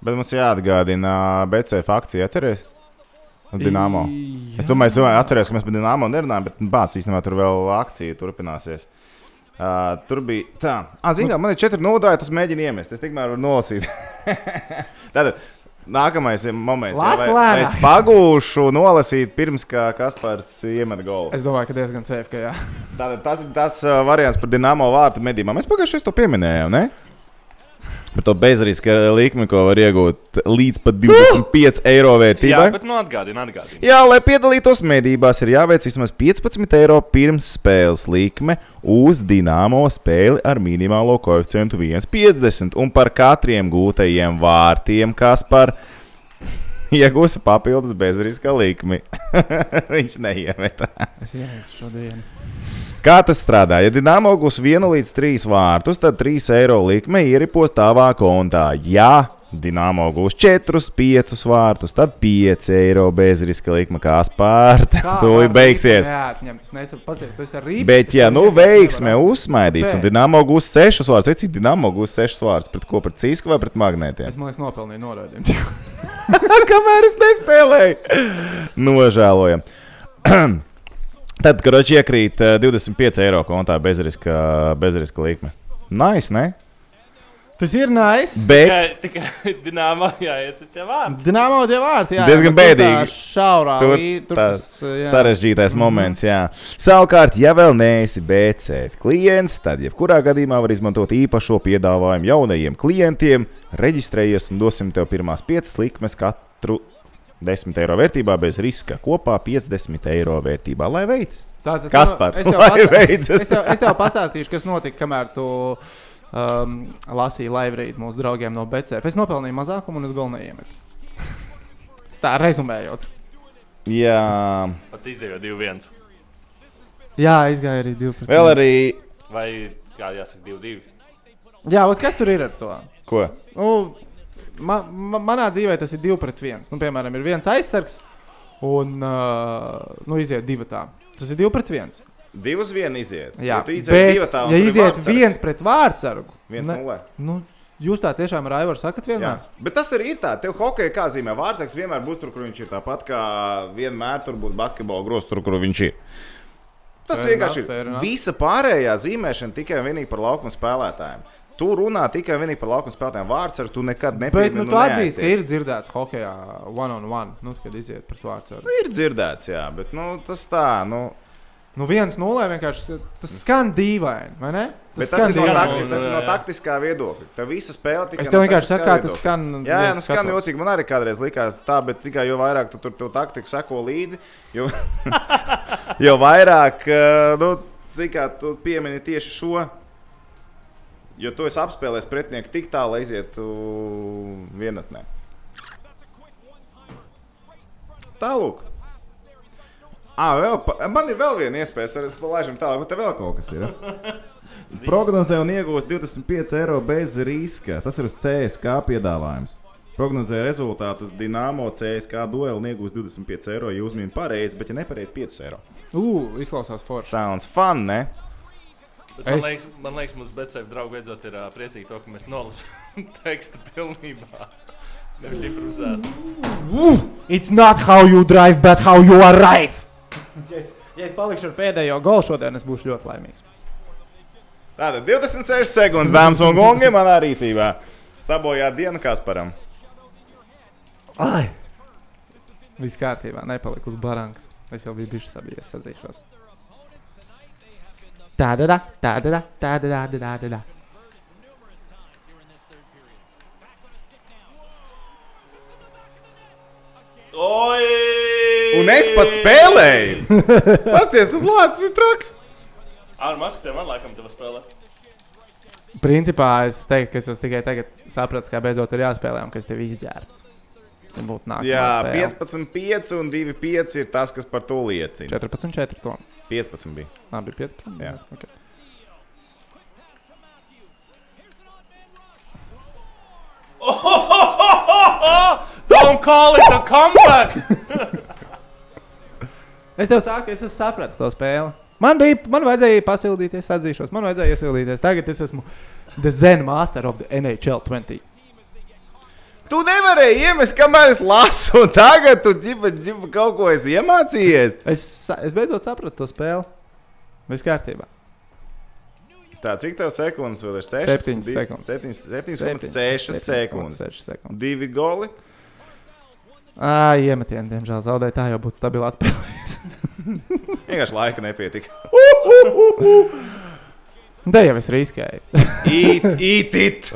B: Bet mums jāatgādina BCF akcija, atcerieties? Dienāmo.
A: Jā.
B: Es domāju, es atceros, ka mēs par Dienāmo nerunājām, bet bācis īstenībā tur vēl akcija turpināsies. Uh, tur bija tā, ah, zināmā mērā, man ir četri nodaļas, tas mēģina iemest. Es tikmēr varu nolasīt. Tātad, nākamais ir moments,
A: Las
B: vai-
A: lēnāk.
B: vai es pagūšu nolasīt pirms, kā Kaspars iemet golu.
A: es domāju, ka diezgan safe, ka jā.
B: Tātad tas ir tas uh, variants par dīnāmo vārtu medībām. Mēs pagājušajā gadsimtā to pieminējām. Ne? Par to bezriska līniju, ko var iegūt līdz pat 25 eiro
C: Jā,
B: vērtībai. Jā,
C: bet nu atgādina, atgādina.
B: Jā, lai piedalītos medībās, ir jāveic vismaz 15 eiro pirms spēles likme uz dīnāmo spēli ar minimālo koeficientu 1,50. Un par katriem gūtajiem vārtiem, kas par iegūs papildus bezriska likmi, viņš neiemeta.
A: Es ienācu šodien.
B: Kā tas strādā? Ja dīnāmo gūs 1 līdz 3 vārtus, tad 3 eiro likme ieripos tavā kontā. Ja dīnāmo gūs 4, 5 vārtus, tad 5 eiro bezriska likme kā spārta. Tūlīt beigsies.
A: Jā, atņemt. Es nesaprotu, pasties, tu esi arī.
B: Bet, ja nu veiksme uzsmaidīs, un
A: Bet.
B: dīnāmo gūs 6 vārdus, cik dīnāmo gūs 6 vārdus, pret ko? Pret cīsku vai pret magnētiem?
A: Es, man liekas, nopelnīju noraidījumu.
B: Kamēr es nespēlēju, nožēlojam. Tad, kad roķis iekrīt eh, 25 eiro kontā bezriska, bezriska līnija. Nice, ne?
A: Tas ir nice.
C: Tikai,
B: Bet
C: tikai dināmā jāiet uz tie vārdi.
A: Dināmā tie vārti, jā.
B: Diezgan
A: nu, tur tā
B: bēdīgi.
A: Šaurā.
B: Tur
A: lī- Tur
B: tā
A: tas jā.
B: sarežģītais moments, jā. Savukārt, ja vēl neesi BCF klients, tad jebkurā gadījumā var izmantot īpašo piedāvājumu jaunajiem klientiem. Reģistrējies un dosim tev pirmās piecas likmes katru 10 eiro vērtībā bez riska. Kopā 50 eiro vērtībā, lai veicas!
A: Tātad, nu,
B: Kaspar,
A: es tev,
B: lai
A: pastā-
B: beidzas.
A: es, tev, es tev pastāstīšu, kas notika, kamēr tu um, lasīji laivrīdu mūsu draugiem no BCF. Es nopelnīju mazākumu un es golu neiemetu. Tas Tā rezumējot.
B: Jā,
C: Pat izdevies 2-1.
A: Jā, aizgāja arī 12.
B: vēl arī.
C: Vai kā jāsaka, 2-2.
A: Jā, bet kas tur ir ar to?
B: Ko?
A: Nu, ma, ma, manā dzīvē tas ir 2 pret 1. Nu, piemēram, ir viens aizsargs un uh, nu, iziet divi tā. Tas ir 2 pret 1.
B: Divas viena iziet.
A: Jā,
B: bet,
A: ja iziet viens pret vārdsargu,
B: viens
A: ne-
B: nulle.
A: nu, jūs tā tiešām ar Aivaru sakat vienmēr?
B: Jā. Bet tas arī ir tā, tev hokeja kā zīmē. Vārdsargs vienmēr būs tur, kur viņš ir. Tāpat kā vienmēr tur būs basketbola grozs, tur, kur viņš ir. Tas
A: Fair
B: vienkārši
A: enough, fair
B: ir.
A: enough.
B: Visa pārējā zīmēšana tikai un vienīgi par laukuma spēlētājiem. Tu runā tikai un vienīgi par laukuma spēlētājiem. Vārdsargs tu nekad
A: Bet
B: nepieņem.
A: nu, tu atzīsti, ka ir dzirdēts hokeja one-on-one, nu, kad iziet pret vārdu.
B: Nu, ir dzirdēts, jā, bet nu, tas tā. Nu,
A: Nu, viens nulē vienkārši tas skan dīvaini, vai ne?
B: Bet tas, ir no,
C: gan-
A: dīvaini.
B: takti,
C: Nu,
B: tas ir no
C: jā.
B: taktiskā viedokļa. Tā visa spēle tikai
A: Es tev
B: no
A: vienkārši
B: taktiskā
A: saku, kā tas
B: viedokļa.
A: skan.
B: Jā, jā, nu
A: es
B: skan
A: skatos.
B: jocīgi. Man arī kādreiz likās tā, bet tikai jo vairāk tu tur to taktiku seko līdzi, jo, jo vairāk, eh, nu, cik kā tu piemini tieši šo. Jo tu esi apspēlējis pretinieku tik tālu, lai aizietu vienatnē. Tālāk. Ah, vēl, pa- man ir vēl viena iespēja, es laižam tālāk, bet te vēl kaut kas ir. ja? Prognozē un iegūs 25 eiro bez riska. Tas ir uz CSK piedāvājums. Prognozē rezultātus Dienāmo CSK dueli un iegūs 25 eiro, ja uzmīna pareizi, bet ja nepareizi 5 eiro.
A: Ugh, izklausās forši.
B: Sounds fun, ne?
C: Bet Man,
A: Es-
C: liekas, man liekas, mums Betsēta draugi beidzot ir uh, priecīgi to, ka mēs nolasām tekstu pilnībā. Nevis improvizēt.
A: Ugh, it's not how you drive, but how you arrive! Ja es, ja es palikšu ar pēdējo golu šodien, es būšu ļoti laimīgs.
B: Tātad 26 sekundes, dāmas un kungi, manā rīcībā. Sabojājāt dienu Kasparam.
A: Ai! Viss kārtībā, nepaliku uz barangas. Es jau biju bijis sabijies, atzīšos. Tāda, da, tāda, da, tāda, da, da, da, da.
C: Oi!
B: Un es pats spēlēju! Pasties, tas lācis ir traks!
C: Ar maskatiem man laikam tev spēlē.
A: Principā es teiktu, ka es esmu tikai tagad sapratis, kā beidzot ir jāspēlē un kas tev izģērbts. Tomsam būtu nākamais.
B: Jā, 15, 5 un 2, 5 ir tas, kas par to liecina.
A: 14, 4. Tom.
B: 15 bija.
A: Nā, bija 15.
B: Jā.
A: nezinu, okay.
C: Don't call it a comeback!
A: Es tev saku, es esmu sapratis to spēli. Man bija, man vajadzēja pasildīties, atzīšos, man vajadzēja iesildīties. Tagad es esmu The Zen Master of the NHL 20.
B: Tu nevarēji iemest, kamēr es lasu, un tagad tu ģipa, ģipa, kaut ko esi iemācījies.
A: Es, sa- es beidzot sapratu to spēli. Viss kārtībā.
B: Tā, cik tev sekundes vēl ir?
A: Septiņas sekundes.
B: 7,6 sekundes.
A: 6 sekundes.
B: Divi goli.
A: Ā, iemetieni, diemžēl zaudēja. Tā jau būtu stabilā spēlējies.
B: Vienkārši laika nepietika.
A: Te jau es riskēju.
B: Eat, eat it!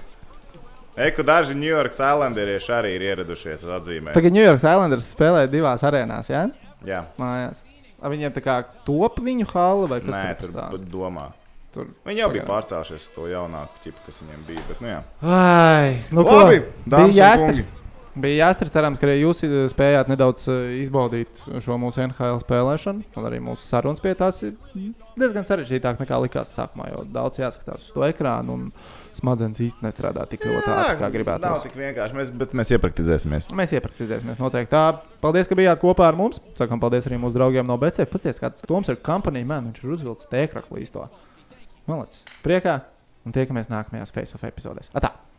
B: Eku daži New York Islanderieši arī ir ieradušies atzīmē.
A: Tagad New York Islanders spēlē divās arēnās, jā? Ja?
B: Jā,
A: Mājās. Ā, Viņiem tā kā top viņu hala vai kas
B: nē, tur
A: tur pastāv?
B: pat domā.
A: Tur.
B: Viņi jau bija
A: Pagaidām.
B: pārcēlušies uz to jaunāku tipu, kas viņiem bija. Bet, nu, jā.
A: Ai, nu ko?
B: Labi, dāmas
A: bija
B: un
A: jāstra-
B: kungi.
A: Bija jāstrādā, cerams, ka arī jūs eh, spējāt nedaudz eh, izbaudīt šo mūsu NHL spēlēšanu. Un arī mūsu sarunas pie tās ir diezgan sarežģītāk nekā likās sākumā. Jo daudz jāskatās uz to ekrānu, un smadzenes īstenībā nestrādā tik ļoti ātri, kā
B: Nav
A: gribētu.
B: tik vienkārši, mēs, bet mēs iepraktizēsimies.
A: Mēs iepraktizēsimies noteikti. Tā, paldies, ka bijāt kopā ar mums. Sakām paldies arī mūsu draugiem no BCF. Pastāstiet, kāds Toms ir kompānija, man viņš ir uzvilcis tēkraklu īsto. Malacis, priekā un tiekamies nākamajās face-off epizodēs. Atā!